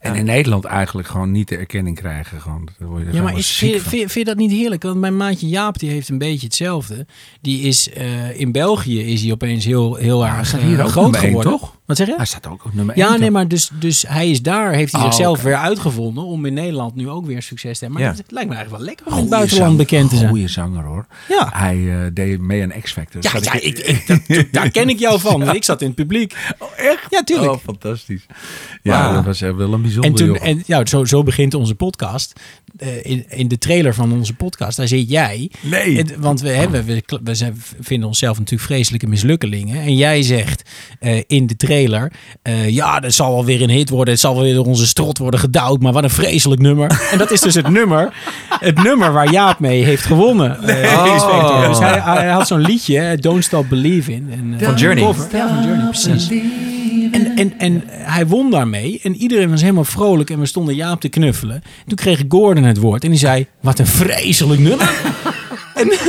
En in Nederland eigenlijk gewoon niet de erkenning krijgen. Gewoon, daar word je Ja, maar gewoon is, ziek vind, van. vind, vind je dat niet heerlijk? Want mijn maatje Jaap die heeft een beetje hetzelfde. Die is eh, in België is hij opeens heel, heel erg staat eh, hier ook groot nummer één, geworden. toch? Wat zeg je? Hij staat ook op nummer 1. Ja, nee, maar dus, dus hij is daar, heeft hij Oh, zichzelf oké. weer uitgevonden om in Nederland nu ook weer succes te hebben. Maar Ja. het lijkt me eigenlijk wel lekker om in het buitenland bekend te zijn. Goeie zanger hoor. Ja. Hij eh, deed mee aan X-Factor. Ja, Zat ja, ik, ik- dat- daar ken ik <laughs> jou van. want Ik zat in het publiek. echt? Ja, tuurlijk. Oh, fantastisch. Ja, Wauw. dat was echt wel een bijzonder en toen, joch. en, ja, zo, zo begint onze podcast. Eh, in, in de trailer van onze podcast, daar zit jij. Nee. Het- want we, hebben, we, we zijn, vinden onszelf natuurlijk vreselijke mislukkelingen. En jij zegt eh, in de trailer: eh, Ja, dat zal wel weer een hit worden. Het zal wel weer door onze strot worden gedouwd. Maar wat een vreselijk nummer. En dat is dus het <laughs> nummer. Het nummer waar Jaap mee heeft gewonnen. Eh, Oh. X-Factor. Dus hij, hij had zo'n liedje, eh, Don't Stop Believe In. En, eh, Van Journey. cover. Ja, van Journey, precies. En, en, en hij won daarmee. En iedereen was helemaal vrolijk. En we stonden Jaap te knuffelen. Toen kreeg Gordon het woord. En die zei: Wat een vreselijk nummer. <laughs>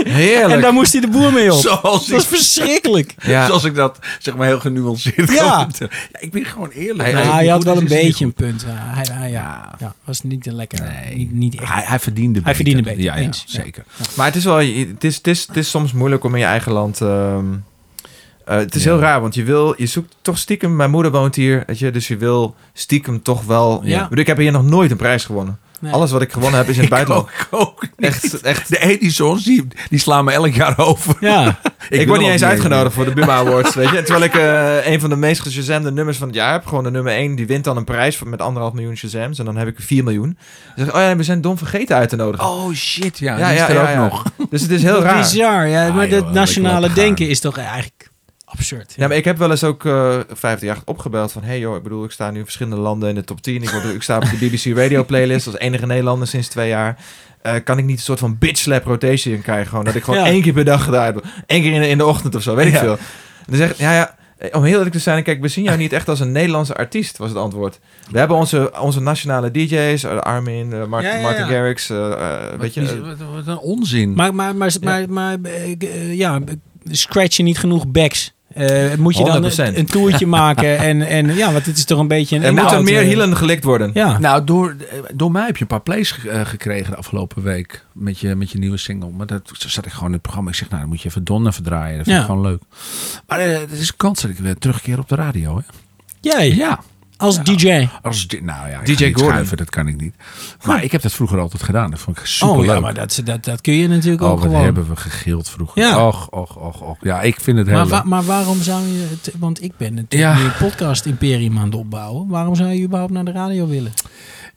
Heerlijk. En daar moest hij de boer mee op. Zoals Dat is ik- verschrikkelijk. ja. Zoals ik dat zeg maar heel genuanceerd Ja. kan vertellen. ja ik ben gewoon eerlijk. Hij- hij- Nee, Ja, goed, hij had wel dit een dus is niet beetje een goed. punt. Ja, hij, hij, ja. Ja. Ja, was niet een lekker. Nee. Niet, niet echt. Hij, hij verdiende beter. Hij verdiende beter, Ja, ja, eens. zeker. Maar het is wel, het is, het is, het is soms moeilijk om in je eigen land. ehm, eh, het is Ja. heel raar, want je wil, je zoekt toch stiekem. Mijn moeder woont hier, weet je, dus je wil stiekem toch wel. Ja. Ik bedoel, Ik heb hier nog nooit een prijs gewonnen. Nee. Ah, Alles wat ik gewonnen heb is in <laughs> het Ik buitenland. ook, ook niet. Echt, echt. De Edisons, die, die slaan me elk jaar over. Ja. Ik, wil word niet nog eh. eens mee. uitgenodigd voor de Buma Awards, weet je. Terwijl ik <laughs> eh, een van de meest geshazamde nummers van het jaar heb. Gewoon de nummer 1, die wint dan een prijs van- met anderhalf miljoen shazams. En dan heb ik 4 miljoen. Dan zeg ik, oh ja, we zijn dom vergeten uit te nodigen. Oh shit, ja. die is er ook nog. Dus het <laughs> is heel raar. Bizar. Ja, Ah, maar joh, dat dat nationale klopt, gaan. denken is toch eigenlijk absurd. Ja, maar ik heb wel eens ook eh 538 opgebeld van... hey joh, ik bedoel, ik sta nu in verschillende landen in de top 10. Ik, word, ik sta op de BBC Radio Playlist als enige Nederlander sinds twee jaar. Eh, kan ik niet een soort van bitch slap rotation krijgen? Gewoon dat ik gewoon Ja. één keer per dag gedaan heb. Eén keer in de, in de ochtend of zo, weet ik Ja. veel. En dan zegt ja, ja, eh, om heel eerlijk te zijn... Kijk, we zien jou niet echt als een Nederlandse artiest, was het antwoord. We hebben onze, onze nationale DJ's, eh, Armin, eh, Mark- Ja, ja, Martin ja. Garrix, eh, eh, weet je... Wat- eh, wat, wat een onzin. Maar, maar, maar, maar, maar, eh, eh, ja, eh, scratch je niet genoeg backs. Eh, moet je dan 100%. een, een <laughs> toertje maken? En, en ja, want dit is toch een beetje een. Er moeten inhoud, meer eh, hielen gelikt worden. Ja. Nou, door, door mij heb je een paar plays ge- eh, gekregen de afgelopen week. Met je, met je nieuwe single. Maar dat zo zat ik gewoon in het programma. Ik zeg, nou, dan moet je even Don even draaien. Dat vind Ja. ik gewoon leuk. Maar eh, het is een kans dat ik weer terugkeer op de radio. Hè? Jij, Ja. als Oh, DJ. Als, di- nou ja, ik DJ ga niet Gordon. schuiven, dat kan ik niet. Maar ik heb dat vroeger altijd gedaan. Dat vond ik super Oh leuk. ja, maar dat, dat, dat kun je natuurlijk Oh, ook wat gewoon. hebben we gegild vroeger. Ja. Och, och, och, och. Ja, ik vind het heel Maar, leuk. wa- maar waarom zou je het, want ik ben natuurlijk Ja. nu een podcast imperium aan het opbouwen. Waarom zou je überhaupt naar de radio willen?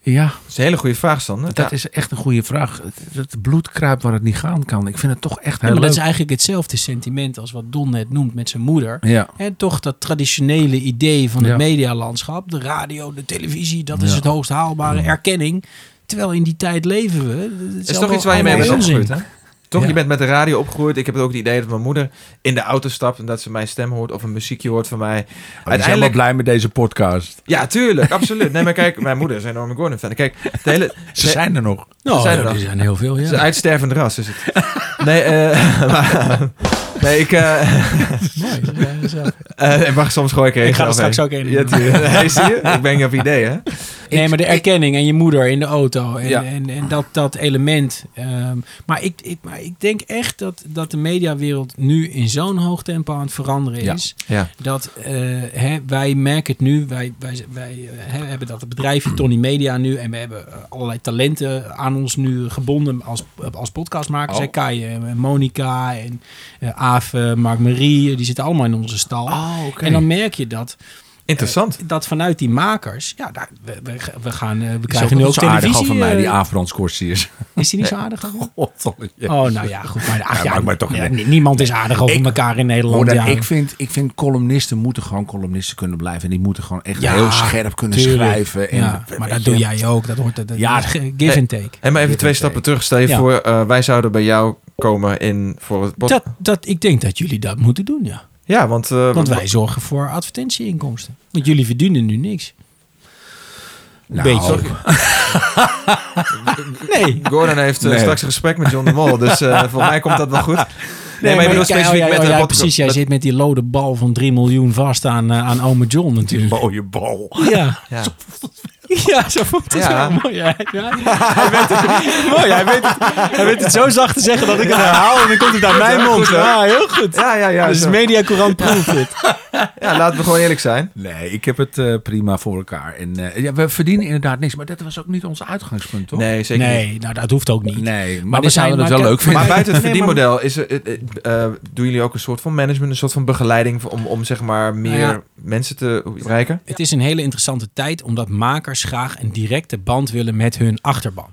Ja, Dat is een hele goede vraag, Sander. dat Ja. is echt een goede vraag. Het, het bloed kruipt waar het niet gaan kan. Ik vind het toch echt Ja, heel maar dat leuk. is eigenlijk hetzelfde sentiment als wat Don net noemt met zijn moeder. Ja. En toch dat traditionele idee van het Ja. medialandschap, de radio, de televisie, dat is Ja. het hoogst haalbare erkenning. Terwijl in die tijd leven we. Het is toch iets waar je mee bent allemaal opgegroeid, onzin. hè? Toch, Ja. je bent met de radio opgegroeid. Ik heb ook het idee dat mijn moeder in de auto stapt... en dat ze mijn stem hoort of een muziekje hoort van mij. Uiteindelijk blij met deze podcast. Ja, tuurlijk, absoluut. Nee, maar kijk, mijn moeder is een enorme Gordon-fan. Kijk, de hele... Ze zijn er nog. Nou, zijn er ja, dan. er zijn heel veel, Het is ja. een uitstervend ras, is het. Nee, eh, <laughs> maar- nee ik... eh, <laughs> Mooi, dat zijn <laughs> er zelf. eh, ik mag soms gooi ik er Ik één ga er eroverheen. straks ook één Ja, doen. tuurlijk. Nee, zie je? Ik ben je op idee, hè? Nee, maar de erkenning en je moeder in de auto en, Ja. en, en dat, dat element. Ehm, maar, ik, ik, maar ik denk echt dat, dat de mediawereld nu in zo'n hoog tempo aan het veranderen Ja. is. Ja. Dat eh, hè, wij merken het nu, wij, wij, wij eh, hè, hebben dat bedrijfje Tony Media nu en we hebben eh, allerlei talenten aan ons nu gebonden als, als podcastmakers. Oh. Hè, Kai en Monica en eh Aaf, Mark Marie, eh, die zitten allemaal in onze stal. Oh, oké. En dan merk je dat Interessant. dat vanuit die makers, ja, daar, we, we, we gaan, eh, we Is ook krijgen nu ook zo aardig al televisie. van mij, eh, die Afrans <laughs> is. is die niet zo aardig? over? Oh, nou ja, goed. Maar, ach, Ja, ja, maakt mij toch ja, niet ni- niemand is aardig over Ik- elkaar in Oh, Nederland. dat- Ja. ik, vind, ik vind columnisten moeten gewoon columnisten kunnen blijven. En die moeten gewoon echt Ja, heel scherp kunnen tuurlijk. schrijven. En, ja, weet maar dat je. doe jij ook. Dat hoort dat, dat- Ja, dat is ge- give and take. En maar even Dit twee is stappen één. terug. Stel je Ja. voor, eh, wij zouden bij jou komen in voor het bod. Dat, dat, ik denk dat jullie dat moeten doen, ja. Ja, want, eh, Want wij zorgen voor advertentieinkomsten. Want jullie verdienen nu niks. Nou, <laughs> Beetje. Nee. Gordon heeft eh, Nee. straks een gesprek met John de Mol. Dus <laughs> eh voor mij komt dat wel goed. Nee, Nee, maar ik bedoel ja, oh, specifiek ja, met oh, de ja, podcast- precies. Jij met- zit met die lode bal van 3 miljoen vast aan, eh, aan ome John Die natuurlijk. mooie bal. <laughs> Ja. Ja. Ja, zo voelt het Ja. wel mooi. uit, Ja. Hij weet het, mooi, hij weet het, hij weet het zo zacht te zeggen dat ik het herhaal en dan komt het uit mijn hè? mond. Goed, hè? ja, heel goed. Ja, ja, ja. dus zo. mediacourant proeft het. ja, laten we gewoon eerlijk zijn. Nee, ik heb het eh, prima voor elkaar. En, eh, ja, we verdienen inderdaad niks. Maar dat was ook niet ons uitgangspunt, toch? Nee, zeker niet. Nee, nou dat hoeft ook niet. Nee, maar, Maar we dit zouden het zijn- wel maar leuk kijk, vinden. Maar buiten het Nee, maar- verdienmodel is, er- eh, eh, eh, doen jullie ook een soort van management, een soort van begeleiding om, om zeg maar meer Nou ja. mensen te bereiken? Het is een hele interessante tijd omdat makers graag een directe band willen met hun achterban.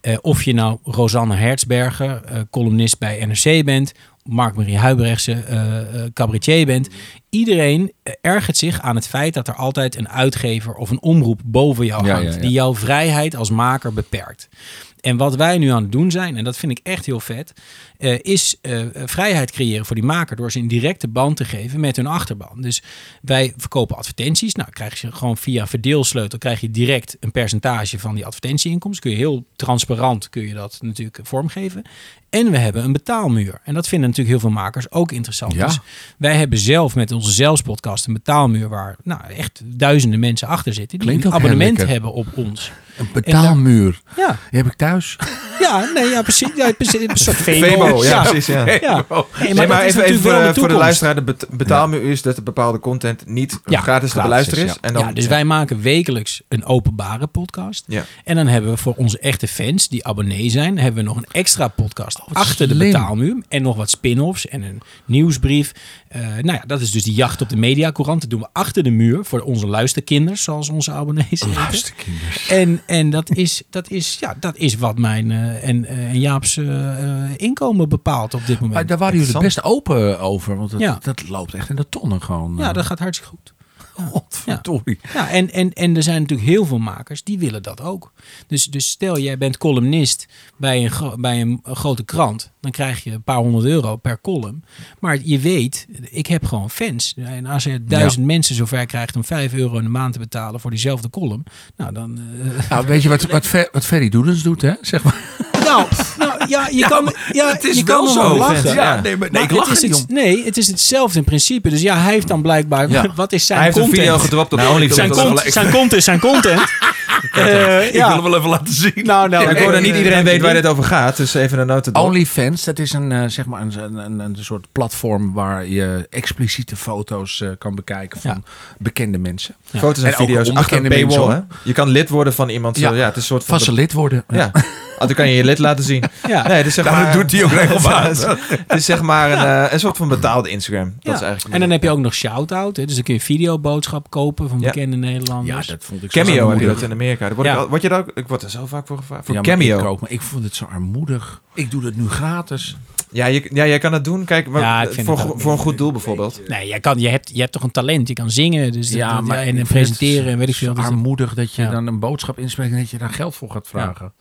Eh, of je nou Rosanne Hertzberger, eh, columnist bij NRC bent, Mark-Marie Huibrechtse, eh, eh, cabaretier bent. Iedereen eh, ergert zich aan het feit dat er altijd een uitgever of een omroep boven jou Ja, hangt. ja, ja. Die jouw vrijheid als maker beperkt. En wat wij nu aan het doen zijn, en dat vind ik echt heel vet, eh, is eh, vrijheid creëren voor die maker door ze een directe band te geven met hun achterban. Dus wij verkopen advertenties. Nou, krijg je gewoon via verdeelsleutel krijg je direct een percentage van die advertentieinkomsten. Kun je heel transparant kun je dat natuurlijk vormgeven. En we hebben een betaalmuur. En dat vinden natuurlijk heel veel makers ook interessant. Ja. Dus wij hebben zelf met onze zelfspodcast een betaalmuur waar nou, echt duizenden mensen achter zitten die Klinkt een ook heel abonnement lekker. hebben op ons. Een betaalmuur. Ja, Die heb ik <laughs> thuis. ja, nee, ja, precies. Ja, precies <laughs> een soort Febo. Febo, ja, Ja. precies. Ja. Nee, Ja. Nee, maar, maar, dat is even, natuurlijk even eh, voor, de- wel de voor de toekomst. luisteraar, de bet- betaalmuur is dat de bepaalde content niet Ja, gratis te gratis beluisteren is, is. ja. En dan, ja, dus wij maken wekelijks een openbare podcast. Ja. En dan hebben we voor onze echte fans die abonnee zijn, hebben we nog een extra podcast Oh, achter de slim. betaalmuur. En nog wat spin-offs en een nieuwsbrief. Eh, nou ja, dat is dus die jacht op de mediacourant. Dat doen we achter de muur voor onze luisterkinders, zoals onze abonnees. heten. Luisterkinders. En, en dat, is, dat, is, ja, dat is wat mijn eh, en, eh, en Jaap's eh, eh, inkomen bepaalt op dit Maar moment. daar waren jullie best Interessant. open over. Want dat, Ja. dat loopt echt in de tonnen gewoon. Ja, eh, <laughs> dat gaat hartstikke goed. Godverdorie. Ja, en, en, en er zijn natuurlijk heel veel makers die willen dat ook. Dus, dus stel, jij bent columnist bij een, gro- bij een eh, grote krant. Dan krijg je een paar honderd euro per column. Maar je weet, ik heb gewoon fans. En als er duizend mensen zover krijgt om vijf euro in de maand te betalen voor diezelfde column. Nou, dan... eh, <laughs> Nou, weet je wat, wat, Fer, wat Ferry Doedens doet, hè? Zeg maar. Nou, nou, ja, je kan, ja, het is je wel kan er zo. om lachen. Ja, nee, maar, nee, ik Maar lach het er is niet iets- om. Nee, het is hetzelfde in principe. Dus ja, hij heeft dan blijkbaar... Ja. <laughs> Wat is zijn Hij heeft een content? video gedropt op Nou, YouTube. Olivier, zijn, Dat is cont- wel- zijn content is zijn content. Eh, Ik wil ja. hem wel even laten zien. Nou, nou, Ja, ik hoor dat eh, niet iedereen dank je weet waar wel. dit over gaat, dus even een nota door. OnlyFans, dat is een, eh, zeg maar een, een, een, een soort platform waar je expliciete foto's eh, kan bekijken van bekende mensen. Foto's en, En ook video's achter een onbekende paywall, hè? mensen, Je kan lid worden van iemand, zo, Ja. ja, het is een soort van... Van ze lid worden. de- <laughs> ja. Ah, dan kan je je lid laten zien. Ja. Nee, dus zeg maar, hij <laughs> ook het is zeg maar een, eh, een soort van betaalde Instagram. Dat is Ja. eigenlijk en dan heb je ook nog shout-out. hè. Dus dan kun je een videoboodschap kopen van Ja. bekende Ja, Nederlanders. dat vond ik zo Cameo heb je armoedig. dat in Amerika. Daar word, Ja. ik al- word je daar ook, ik word er zo vaak voor gevraagd. Voor Ja, maar Cameo. Ik, ook, maar ik vond het zo armoedig. Ik doe dat nu gratis. Ja, je, ja, jij kan dat doen. Kijk, maar Ja, ik vind voor, het go- ook voor een goed doel bijvoorbeeld. Nee, jij kan, je, hebt, je hebt toch een talent. Je kan zingen dus dat- dat- ja, en presenteren en weet ik veel. Het is zo Dus dat- armoedig dat je Ja. dan een boodschap inspreekt en dat je daar geld voor gaat vragen.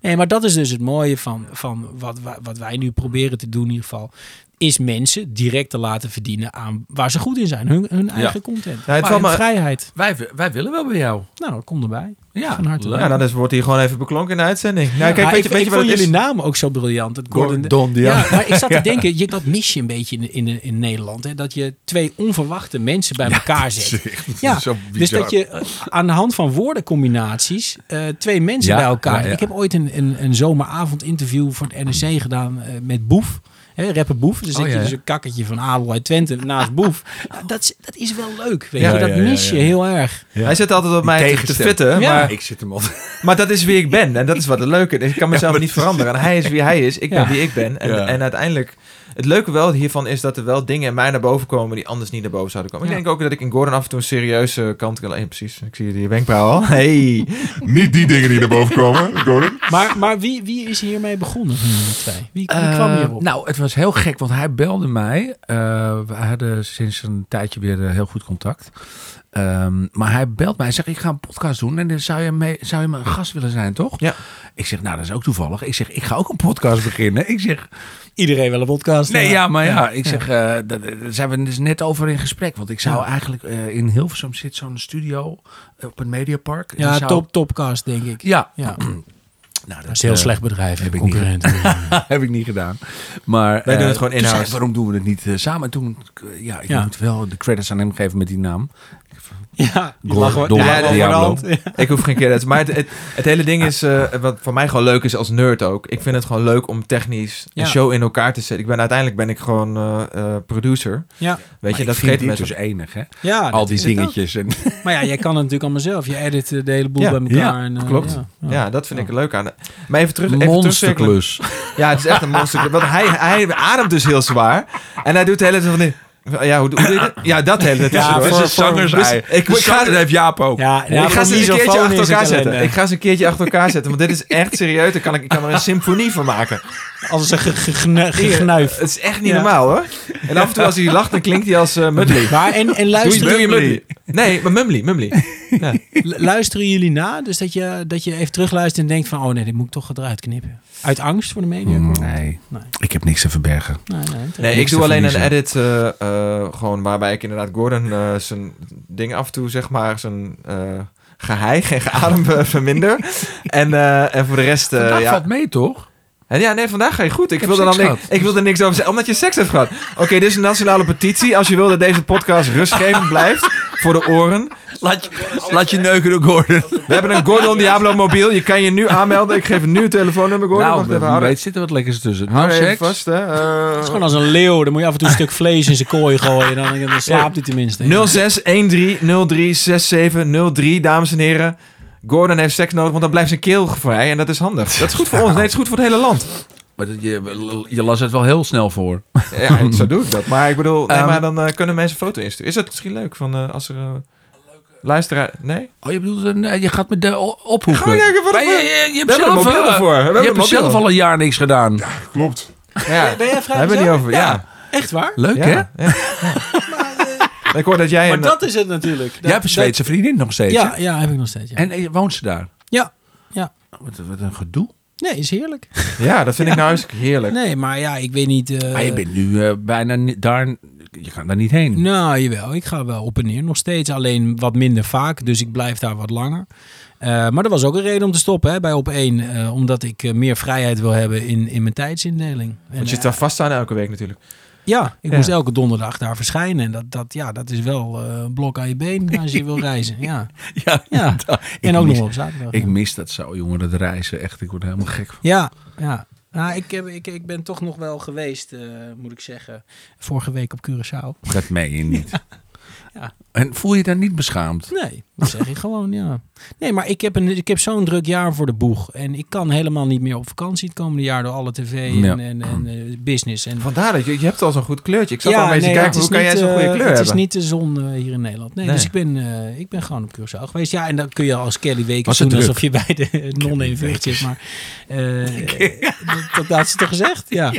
Nee, maar dat is dus het mooie van, van wat, wa- wat wij nu proberen te doen in ieder geval. Is mensen direct te laten verdienen aan waar ze goed in zijn. Hun, hun eigen content. Ja, het maar valt en me- vrijheid. Wij, wij willen wel bij jou. Nou, kom erbij. Ja, Van harte Ja, nou, dus wordt hier gewoon even beklonken in de uitzending. Nou, kijk, Maar weet, ik, je, weet ik je wat vond het is? jullie namen ook zo briljant. Het Gordon, ja. <laughs> Ja, maar ik zat te denken, je, dat mis je een beetje in, in, in Nederland. Hè? Dat je twee onverwachte mensen bij elkaar zet. Ja, zo dus bizar. dat je eh, aan de hand van woordencombinaties eh, twee mensen Ja, bij elkaar. ja, ja. Ik heb ooit een, een, een zomeravond interview voor het NRC gedaan eh, met Boef. Hè, rapper Boef. Dan zit ja, je Oh, ja. dus een kakkertje van Adel uit Twente naast Boef. <laughs> Nou, Dat, is- dat is wel leuk. Weet Ja, je? Dat ja, ja, mis ja, je ja. heel erg. Hij zit altijd op mij te- te tegenstem. fitten, Ja. maar ik zit hem altijd. Maar dat is wie ik ben. En dat is wat het leuke is. Ik kan mezelf niet veranderen. En hij is wie hij is. Ik ben Ja. wie ik ben. En, Ja. en uiteindelijk... Het leuke wel hiervan is dat er wel dingen in mij naar boven komen... die anders niet naar boven zouden komen. Ja. Ik denk ook dat ik in Gordon af en toe een serieuze kant kan... Hey, precies. Ik zie je wenkbrauw al. <laughs> Hey. <laughs> Niet die dingen die naar boven <laughs> komen, Gordon. Maar, maar wie, wie is hiermee begonnen Hmm. van jullie twee? Wie, wie kwam hierop? nou, het was heel gek, want hij belde mij. Eh, we hadden sinds een tijdje weer eh, heel goed contact. Ehm, maar hij belt mij en zegt, ik ga een podcast doen. En dan zou je, mee, zou je mijn gast willen zijn, toch? Ja. Ik zeg, nou, dat is ook toevallig. Ik zeg, ik ga ook een podcast beginnen. Ik zeg, Iedereen wil een podcast. Nee, maken. ja, maar ja, ik zeg, eh, daar daar zijn we dus net over in gesprek. Want ik zou eigenlijk eh, in Hilversum zit zo'n studio eh, op een mediapark. En Ja, die zou- top, topcast denk ik. Ja, Ja, nou, dat is een heel eh, slecht bedrijf. heb ik Heb ik niet concurrenten. <laughs> heb ik niet gedaan. Maar Wij doen eh, het gewoon toen zei ik, in-house. Waarom doen we het niet eh, samen? En toen, eh, ja, ik Ja. moet wel de credits aan hem geven met die naam. <laughs> ja, Gordon, Don- Ja, Diablo. Diablo. Ik hoef geen credits. Maar het, het, het hele ding is, eh, wat voor mij gewoon leuk is als nerd ook. Ik vind het gewoon leuk om technisch een Ja. show in elkaar te zetten. Ik ben, uiteindelijk ben ik gewoon eh, eh, producer. Ja, Weet Maar je, ik dat vind vergeet dit mensen. dus enig, hè? ja Al Ah, dat die is het dingetjes. En, ook. Maar ja, jij kan het natuurlijk allemaal zelf. Je edit eh, de hele boel Ja, bij elkaar. ja, en, eh, klopt. Ja, Ja, dat vind ik er leuk aan. Maar even terug. Even terugcirkelen. monsterklus. Ja, het is echt een monster. Want hij, hij ademt dus heel zwaar. En hij doet de hele tijd van... dit. Ja, hoe, doe- hoe doe je dat? Ja, dat hele tijd. Ja, tussendoor. het is een Dus ik, ik ga, dat heeft Jaap ook. ja, ja, ik ga ze eens een keertje achter elkaar zetten. Ik Ik, ga ze een keertje achter elkaar zetten. Want dit is echt serieus. Ik kan, ik ik kan er een symfonie van <laughs> maken. als een ge- ge- genu- gegnuif. Het is echt niet Ja. normaal, hoor. En af en toe als hij lacht, dan klinkt hij als eh Mumley. Maar en, en luisteren, Doe je Mumley? Nee, maar Mumley, Mumley. lu- luisteren jullie na? Dus dat je, dat je even terugluistert en denkt van... Oh nee, dit moet ik toch eruit knippen. Uit angst voor de media? Nee, Nee. Mm. ik heb niks te verbergen. Nee, Mm. nee, terecht. Nee, ik Niks doe te alleen een verliezen. edit eh, eh, gewoon waarbij ik inderdaad Gordon eh, zijn ding af en toe, zeg maar, zijn eh geheig en geadem <laughs> eh, verminder. en, eh, en voor de rest, eh, dat ja. valt mee, toch? En ja, nee, vandaag ga je goed. Ik, heb wil, er dan seks niks, gehad. ik wil er niks over zeggen, omdat je seks hebt gehad. Oké, dit is een nationale petitie. Als je wil dat deze podcast rustgevend blijft voor de oren. Laat je, laat je neuken door Gordon. We hebben een Gordon Diablo mobiel. Je kan je nu aanmelden. Ik geef nu het telefoonnummer, Gordon. nou, Wacht even, wie hou er- weet zit er wat lekkers tussen. hou Nou, er even seks. vast, hè. Eh, Het is gewoon als een leeuw. Dan moet je af en toe een stuk vlees in zijn kooi gooien. Dan, dan slaapt hij tenminste. 0613036703, dames en heren. Gordon heeft seks nodig, want dan blijft zijn keel vrij. En dat is handig. Dat is goed voor ons. Nee, het is goed voor het hele land. Maar dat- je, je las het wel heel snel voor. <laughs> Ja, zo doe ik dat. Maar ik bedoel, nee, Ehm, maar dan eh, kunnen mensen foto insturen. Is dat misschien leuk? Van, eh, als er eh, luisteraar... Nee? Oh, je bedoelt, een, eh, je gaat met de o- ophoeken. Gewoon kijken wat Maar er- je, je, je We hebt hebben er zelf, mobiel eh, voor. We hebben je hebt er mobiel zelf voor. al een jaar niks gedaan. Klopt. Ja, Ben jij daar hebben we het niet over. Ja, Echt waar? Leuk, ja, hè? ja. Ik hoor dat jij... Maar een- dat is het natuurlijk. Dat- Jij hebt een Zweedse vriendin nog dat- steeds. Ja, hè? ja, heb ik nog steeds. Ja. En eh, woont ze daar? Oh, ja. ja. Wat, wat een gedoe. Eh, Nee, is heerlijk. Ja, dat vind ik nou eens heerlijk. Ah, Nee, maar ja, ik weet niet. eh, maar je bent nu eh, bijna ni- daar je kan daar niet heen. Nou, jawel. Ik ga wel op en neer nog steeds. Alleen wat minder vaak. Dus ik blijf daar wat langer. Eh, maar er was ook een reden om te stoppen hè, bij op één. eh, omdat ik eh, meer vrijheid wil hebben in, in mijn tijdsindeling. En, Want je zit eh, daar vast aan elke week natuurlijk. ja, ik Ja. moest elke donderdag daar verschijnen. En dat, dat, ja, dat is wel eh, een blok aan je been als je <laughs> wil reizen. Ja. Ja, ja. Ik En ook nog mis- wel op zaterdag. Ik mis dat zo, jongen, dat reizen. Echt, ik word er helemaal gek van. Ja, ja. Nou, ik, heb, ik, ik ben toch nog wel geweest, eh, moet ik zeggen. Vorige week op Curaçao. Dat meen je niet. <laughs> Ja. En voel je je daar niet beschaamd? Nee, dat zeg ik <laughs> gewoon, ja. Nee, maar ik heb, een, ik heb zo'n druk jaar voor de boeg. En ik kan helemaal niet meer op vakantie het komende jaar door alle tv en, Ja. en, en eh, business. En, Vandaar dat je, je hebt al zo'n goed kleurtje. Ik zat al een beetje nee, kijken, het is hoe kan niet, jij zo'n goede eh, kleur Het hebben? is niet de zon eh, hier in Nederland. Nee, Nee. dus ik ben, eh, ik ben gewoon op Curaçao geweest. Ja, en dan kun je als Kelly Was Wekers doen het druk? alsof je bij <laughs> de non in vecht zit. Maar eh, dat, dat had ze toch gezegd? Ja.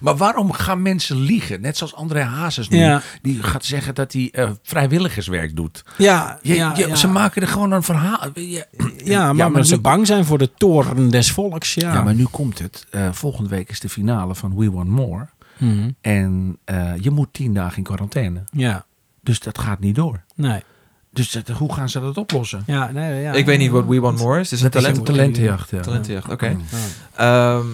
Maar waarom gaan mensen liegen? Net zoals André Hazes nu. Ja. Die gaat zeggen dat hij eh, vrijwilligerswerk doet. Ja, Je- ja, je- ja. Ze maken er gewoon een verhaal. eh, Je- Ja, maar, maar omdat ze nu- bang zijn voor de toren des volks. Ja. Ja, maar nu komt het. Eh, volgende week is de finale van We Want More. Mhm. En eh, je moet tien dagen in quarantaine. ja. Dus dat gaat niet door. nee. Dus dat- hoe gaan ze dat oplossen? Ja, nee, ja. Ik weet niet wat We Want More is. Het is een Dat is talent. een talentenjacht. Ja. Talentenjacht, oké. Ja. Ehm,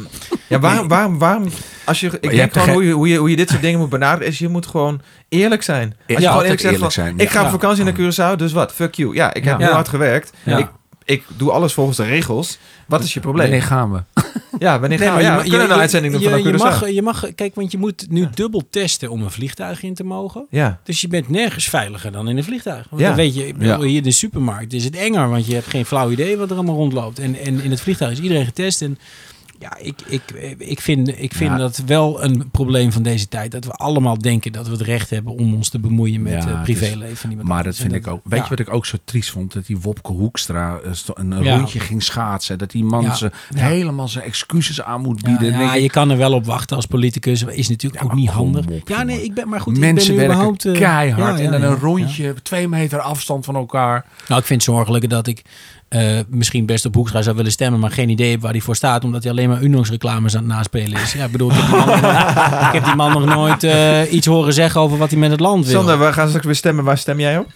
ja, waarom, waarom, waarom, als je, ik jij denk hebt gewoon ge- hoe je, hoe, je, hoe je dit soort dingen moet benaderen, is je moet gewoon eerlijk zijn. Als je Ja, gewoon altijd zegt eerlijk van, zijn, ik ja. ga op Ja. vakantie naar Curaçao, dus wat, fuck you. Ja, ik heb Ja. heel hard gewerkt. Ja. Ik, ik doe alles volgens de regels. Wat is je probleem? Wanneer gaan we? Ja, wanneer gaan we? Ja, we kunnen een uitzending doen je, van je Curaçao. mag, je mag, kijk, want je moet nu dubbel testen om een vliegtuig in te mogen. ja. Dus je bent nergens veiliger dan in een vliegtuig. Want Ja. dan weet je, ik bedoel, Ja. hier in de supermarkt is het enger, want je hebt geen flauw idee wat er allemaal rondloopt. En, en in het vliegtuig is iedereen getest. En ja, ik, ik, ik vind, ik vind Ja. dat wel een probleem van deze tijd. Dat we allemaal denken dat we het recht hebben om ons te bemoeien met Ja, eh, het is- privéleven. van iemand Maar dat anders. vind En ik ook. Weet ja. je wat ik ook zo triest vond? Dat die Wopke Hoekstra eh, sto- een Ja. rondje ging schaatsen. Dat die man Ja. ze Ja. helemaal zijn excuses aan moet Ja, bieden. Dan ja, denk ik, je kan er wel op wachten als politicus. Is natuurlijk Ja, ook niet maar handig. kom op, ja, nee, jongen. ik ben maar goed. mensen ik ben werken nu überhaupt, eh, keihard. ja, en ja, dan ja, een ja. rondje, twee meter afstand van elkaar. Nou, ik vind het zorgelijker dat ik eh, misschien best op Hoekstra zou willen stemmen, maar geen idee heb waar hij voor staat, omdat hij alleen maar Unox reclames aan het naspelen is. Ja, ik bedoel, ik heb die man, nog- ik heb die man nog nooit eh, iets horen zeggen over wat hij met het land wil. Sander, we gaan straks weer stemmen. Waar stem jij op?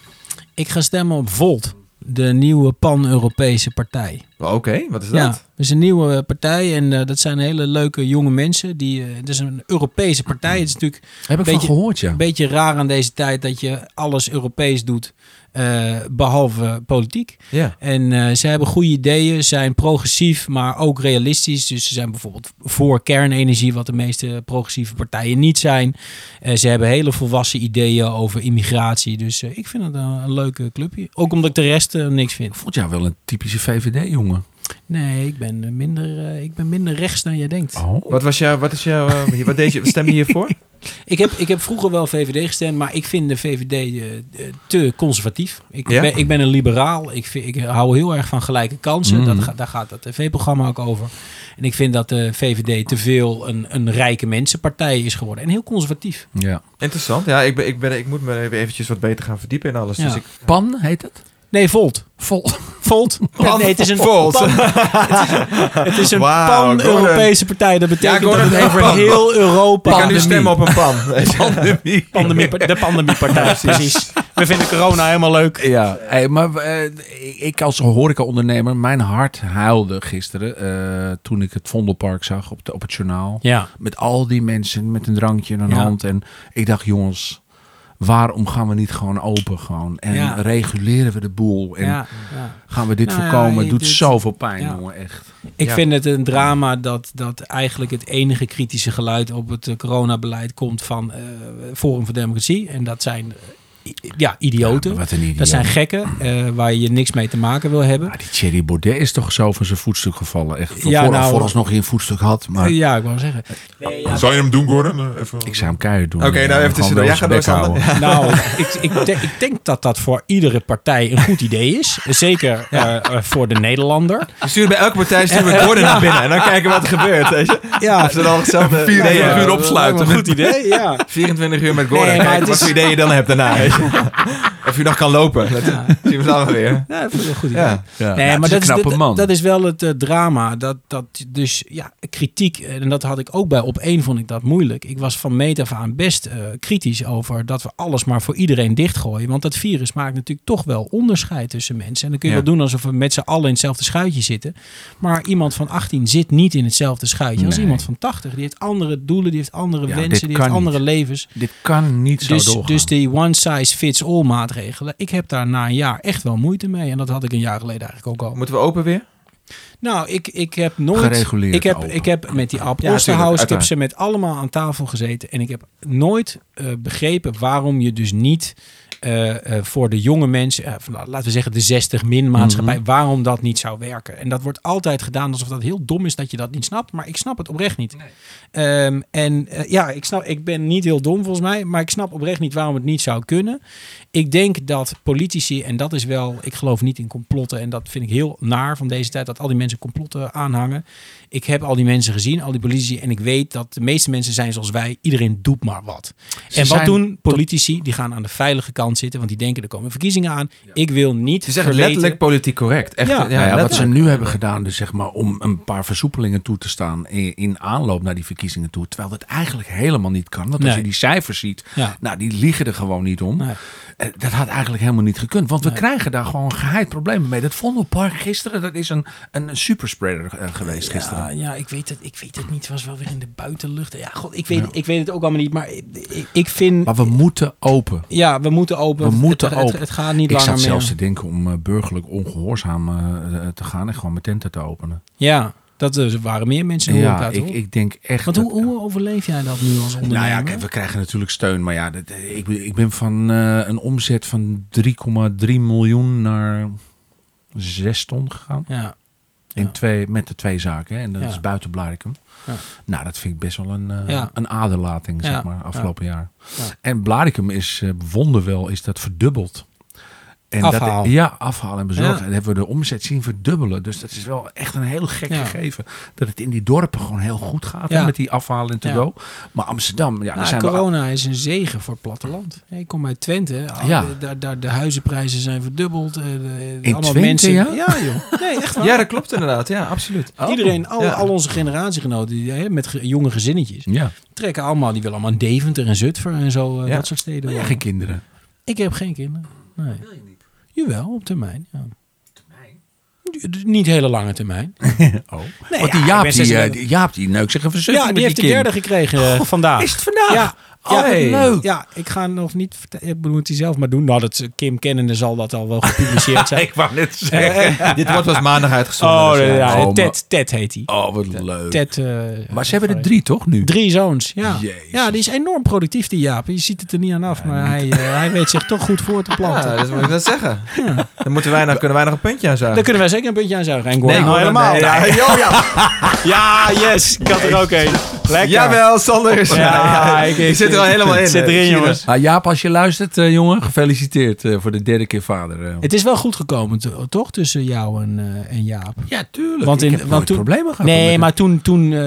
Ik ga stemmen op Volt, de nieuwe pan-Europese partij. Oké, wat is dat? Ja, dat is een nieuwe eh, partij en eh, dat zijn hele leuke jonge mensen. Die, eh, het is een Europese partij. Het is natuurlijk Heb ik Beetje- van gehoord, ja. Een beetje raar aan deze tijd dat je alles Europees doet, eh, behalve politiek. Ja. En eh, ze hebben goede ideeën, zijn progressief, maar ook realistisch. Dus ze zijn bijvoorbeeld voor kernenergie, wat de meeste progressieve partijen niet zijn. Eh, ze hebben hele volwassen ideeën over immigratie. Dus eh, ik vind het een, een leuke clubje. Ook omdat ik de rest eh, niks vind. Ik vond jou wel een typische VVD-jongen. Nee, ik ben, eh, minder, eh, ik ben minder rechts dan jij denkt. Oh. Wat was jouw, wat is jouw, eh, wat deed je, stem je hiervoor? Ik heb, ik heb vroeger wel VVD gestemd, maar ik vind de VVD eh, eh, te conservatief. Ik, Ja? ben, ik ben een liberaal. Ik, vind, ik hou heel erg van gelijke kansen. Mhm. Dat, ga- daar gaat dat tv-programma ook over. En ik vind dat de VVD te veel een, een rijke mensenpartij is geworden. En heel conservatief. Ja. Interessant. Ja, ik, ben, ik, ben, ik moet me weer eventjes wat beter gaan verdiepen in alles. Ja. Dus ik, Pan heet het? Nee, Volt. Vol. Volt. <laughs> nee, het is een Volt. pan- het is een Wauw, pan-Europese partij. Dat betekent Ja, Gordon, dat het even over pan. heel Europa... ik kan nu stemmen op een pan. <laughs> Pandemie. Pandemie, de <laughs> pandemiepartij, precies. We vinden corona Nou, helemaal leuk. Ja, hey, maar eh, ik als horecaondernemer, mijn hart huilde gisteren eh, toen ik het Vondelpark zag op, de, op het journaal. Ja. Met al die mensen met een drankje in hun Ja. hand. En ik dacht, jongens, waarom gaan we niet gewoon open gewoon? En Ja. reguleren we de boel? En Ja, ja. gaan we dit Nou ja, voorkomen? je- het doet dit- zoveel pijn, ja. jongen, echt. Ik Ja. vind het een drama dat, dat eigenlijk het enige kritische geluid op het eh, coronabeleid komt van eh, Forum voor Democratie. En dat zijn eh, i- ja, idioten. Ja, maar wat een idioot. dat zijn gekken eh, waar je niks mee te maken wil hebben. Maar die Thierry Baudet is toch zo van zijn voetstuk gevallen? Echt, Ja, voor, nou- vooralsnog geen voetstuk had, maar... ja, ik wou zeggen. Zou je hem doen, Gordon? Eh, Even... Ik zou hem keihard doen. Oké, nou Ja, even gewoon tussendoor. wel Jij zijn gaat bek door, houden. <laughs> Nou, ik, ik, denk- ik denk dat dat voor iedere partij een goed idee is. Zeker eh, eh, voor de Nederlander. We sturen bij elke partij <laughs> sturen we Gordon naar binnen. En dan kijken wat er gebeurt. Weet je? Ja, Of ze dan hetzelfde nee, ja, uur opsluiten. Goed idee, ja. 24 uur met Gordon. Nee, maar kijken het wat is- voor ideeën je dan hebt daarna. weet je. <laughs> Of je nog kan lopen. Dat zien we dan wel weer. Ja, dat vind ik een goed idee. Ja. Ja. Nee, Ja, het maar dat is is, een knappe dat- man. dat is wel het eh, drama. Dat, dat dus ja, kritiek, eh, en dat had ik ook bij op één vond ik dat moeilijk. Ik was van meet af aan best eh, kritisch over dat we alles maar voor iedereen dichtgooien. Want dat virus maakt natuurlijk toch wel onderscheid tussen mensen. En dan kun je Ja. wel doen alsof we met z'n allen in hetzelfde schuitje zitten. Maar iemand van 18 zit niet in hetzelfde schuitje als Nee. iemand van 80. Die heeft andere doelen, die heeft andere Ja, dit wensen, die kan heeft andere levens Dit kan niet zo dus, doorgaan. dus die one size fits all maatregelen. Ik heb daar na een jaar echt wel moeite mee. En dat had ik een jaar geleden eigenlijk ook al. Moeten we open weer? Nou, ik, ik heb nooit... Gereguleerd ik heb, open. ik heb met die App Ja, tuurlijk, Oosterhuis, ik heb uiteraard. ze met allemaal aan tafel gezeten. En ik heb nooit eh, begrepen waarom je dus niet... eh, eh, voor de jonge mensen, eh, van, laten we zeggen de 60-min maatschappij, Mhm. waarom dat niet zou werken. En dat wordt altijd gedaan alsof dat heel dom is dat je dat niet snapt, maar ik snap het oprecht niet. Ehm, en eh, ja, ik, snap, ik ben niet heel dom volgens mij, maar ik snap oprecht niet waarom het niet zou kunnen. Ik denk dat politici, en dat is wel, ik geloof niet in complotten en dat vind ik heel naar van deze tijd, dat al die mensen complotten aanhangen. Ik heb al die mensen gezien, al die politici, en ik weet dat de meeste mensen zijn zoals wij, iedereen doet maar wat. Ze en wat zijn doen politici? Die gaan aan de veilige kant zitten, want die denken er komen verkiezingen aan. Ik wil niet Ze zeggen verweten- letterlijk politiek correct. Echt, Ja. ja, Nou Nou ja, wat ze letterlijk. nu hebben gedaan, dus zeg maar om een paar versoepelingen toe te staan in, in aanloop naar die verkiezingen toe. Terwijl dat eigenlijk helemaal niet kan. Want als Nee. je die cijfers ziet, Ja. nou die liegen er gewoon niet om. Nee. Eh, Dat had eigenlijk helemaal niet gekund. Want we krijgen daar gewoon geheid problemen mee. Dat Vondelpark gisteren, dat is een, een superspreader eh, geweest gisteren. Ja, ja ik, weet het, ik weet het niet. Het was wel weer in de buitenlucht. Ja, god, ik, weet, ik weet het ook allemaal niet. Maar ik, ik- ik vind... Maar we moeten open. ja, we moeten open. We Het- moeten het, open. Het, het gaat ik niet langer zat meer. zelfs te denken om eh, burgerlijk ongehoorzaam eh, eh, te gaan en gewoon mijn tenten te openen. Ja, dat eh, waren meer mensen in de Ja, horeca, ik, toch? ik denk echt. Want dat- hoe, hoe overleef jij dat nu als ondernemer? Nou ja, kijk, we krijgen natuurlijk steun. Maar ja, dat, ik, ben- ik ben van eh, een omzet van 3,3 miljoen naar 6 ton gegaan. Ja, In Ja. twee, met de twee zaken. Hè, en dat Ja. is buiten Blarikum. Ja. Nou, dat vind ik best wel een, eh, Ja. een aderlating, Ja. zeg maar, afgelopen jaar. Ja. En Blarikum is, eh wonder wel, is dat verdubbeld. En Afhaal. Dat, ja, afhaal en bezorg. Ja. En hebben we de omzet zien verdubbelen. Dus dat is wel echt een heel gek Ja. gegeven. Dat het in die dorpen gewoon heel goed gaat. Ja. hè, Met die afhalen en to Ja. go. Maar Amsterdam, ja, daar Nou, zijn we corona is een zegen voor het platteland. Hey, Ik kom uit Twente. Ah, Ja. de, daar, daar, de huizenprijzen zijn verdubbeld. eh, de- de- In allemaal Twente, mensen. ja? joh. Nee, <laughs> echt waar. Ja, dat klopt inderdaad. Ja, absoluut. Oh. Iedereen, al, Ja. <laughs> al onze generatiegenoten die, hè, met ge- jonge gezinnetjes, Ja. trekken allemaal. Die willen allemaal in Deventer en Zutphen en zo. eh, Ja. Dat soort steden. ja, wonen. geen kinderen. Oh. Ik heb geen kinderen. Nee. Wil je niet? Jawel, op termijn. Ja. Termijn? Niet hele lange termijn. Oh. Nee, Want die ja, ik Jaap, ben die, 36. eh, die Jaap, die neukt zich een verzet Ja, die heeft de derde gekregen eh, vandaag. Is het vandaag? Ja. Oh, wat hey. leuk. Ja, ik ga nog niet vertellen. Ik moet hij zelf maar doen. Nou, dat, Kim Kennende zal dat al wel <laughs> gepubliceerd <laughs> zijn. Ik wou net Eh, zeggen. Dit wordt pas maandag uitgezonden. oh, dus ja, ja, Oh, maar- Ted, Ted heet hij. Oh, wat leuk. Ted, eh, maar ze hebben er sorry. drie, toch, nu? Drie zoons, ja. Jezus. Ja, die is enorm productief, die Jaap. Je ziet het er niet aan af, maar hij, eh, hij weet zich toch goed voor te planten. Ja, dat moet ik dat zeggen. Dan moeten wij nog, kunnen wij nog een puntje aan Daar zuigen. kunnen wij zeker een puntje aan zuigen. En Nee, Gordon Gordon, helemaal. nee, <laughs> ja. Ja, yes. Ik had er ook een. Lekker. Jawel, Sander is Ja, ik- je ik- zit er al helemaal in. ik zit hè. erin, Zie je jongens. dat? Ah, Jaap, als je luistert, eh, jongen, gefeliciteerd eh, voor de derde keer vader. eh. Het is wel goed gekomen, to- toch, tussen jou en, eh, en Jaap? ja, tuurlijk. Want Want in- in, want toen- problemen gehad. hoor, Nee, met maar toen, toen eh,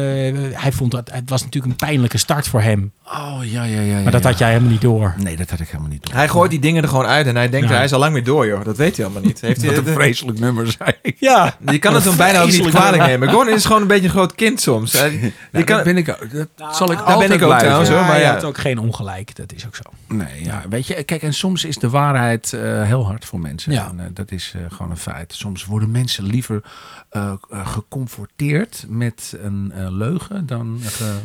hij vond dat het was natuurlijk een pijnlijke start voor hem. Maar het- Oh, ja, ja, ja. dat had jij helemaal niet door. Nee, dat had ik helemaal niet. door. Hij gooit die dingen er gewoon uit en hij denkt, Ja. hij is al lang meer door, joh. Dat weet hij allemaal niet. Heeft hij, Wat <laughs> een vreselijk nummer, zei ik. Ja. je kan het hem bijna ook niet Vreselijk. kwalijk nemen. Gordon is gewoon een beetje een groot kind soms. Hij- die Nou, kan, dat ben ik ook. Dat Nou, zal ik ben altijd ik ook blijven. trouwens, hoor. ja, maar je ja. had ook geen ongelijk. Dat is ook zo. Nee, ja. Weet je, kijk, en soms is de waarheid eh, heel hard voor mensen. Ja. En, eh, dat is eh, gewoon een feit. Soms worden mensen liever eh, eh, geconfronteerd met een eh, leugen dan,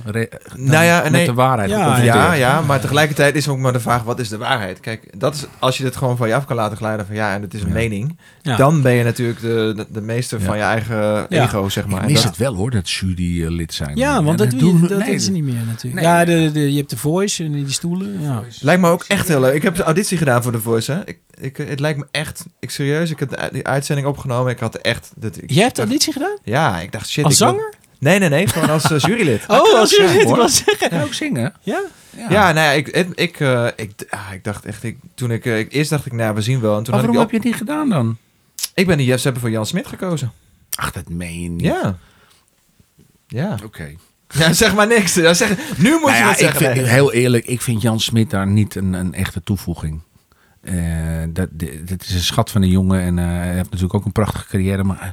gere- dan Nou ja, met nee. de waarheid. Ja, geconfronteerd. ja, ja, maar tegelijkertijd is ook maar de vraag, wat is de waarheid? Kijk, dat is, als je dit gewoon van je af kan laten glijden van ja, en het is een Ja. mening. Ja. Dan ben je natuurlijk de, de, de meester van je eigen Ja. ego, zeg maar. Ik En mis dat- het wel hoor, dat jury-lid zijn. ja, want dat, doen we- dat nee, is niet meer natuurlijk. Nee. Ja, de, de, je hebt de voice en die stoelen. Ja. Lijkt me ook echt heel leuk. Ik heb de auditie gedaan voor de Voice. Hè. Ik, ik, het lijkt me echt... Ik serieus, ik heb de, die uitzending opgenomen. Ik had echt... Dat, ik, Je hebt auditie gedaan? Ja, ik dacht shit. Als ik wil- zanger? Nee, nee, nee. Gewoon als eh, jurylid. <laughs> Oh, als je zijn, dit hoor. was zeggen. En ook zingen. Ja? Ja, nou ja, ik, het- ik, eh, ik, ah, ik dacht echt... Ik, toen ik, eh, ik- eerst dacht ik, nou, we zien wel. En toen Maar had ik, waarom die heb je het niet gedaan dan? op- ik ben de Jeff Zeppen voor Jan Smit gekozen. Ach, dat meen je niet. Ja. Ja. Oké. ja, zeg maar niks. Ja, zeg, nu moet Nou je ja, het ik zeggen. vind, heel eerlijk, ik vind Jan Smit daar niet een, een echte toevoeging. Eh, dat, dat is een schat van een jongen en eh, hij heeft natuurlijk ook een prachtige carrière, maar eh,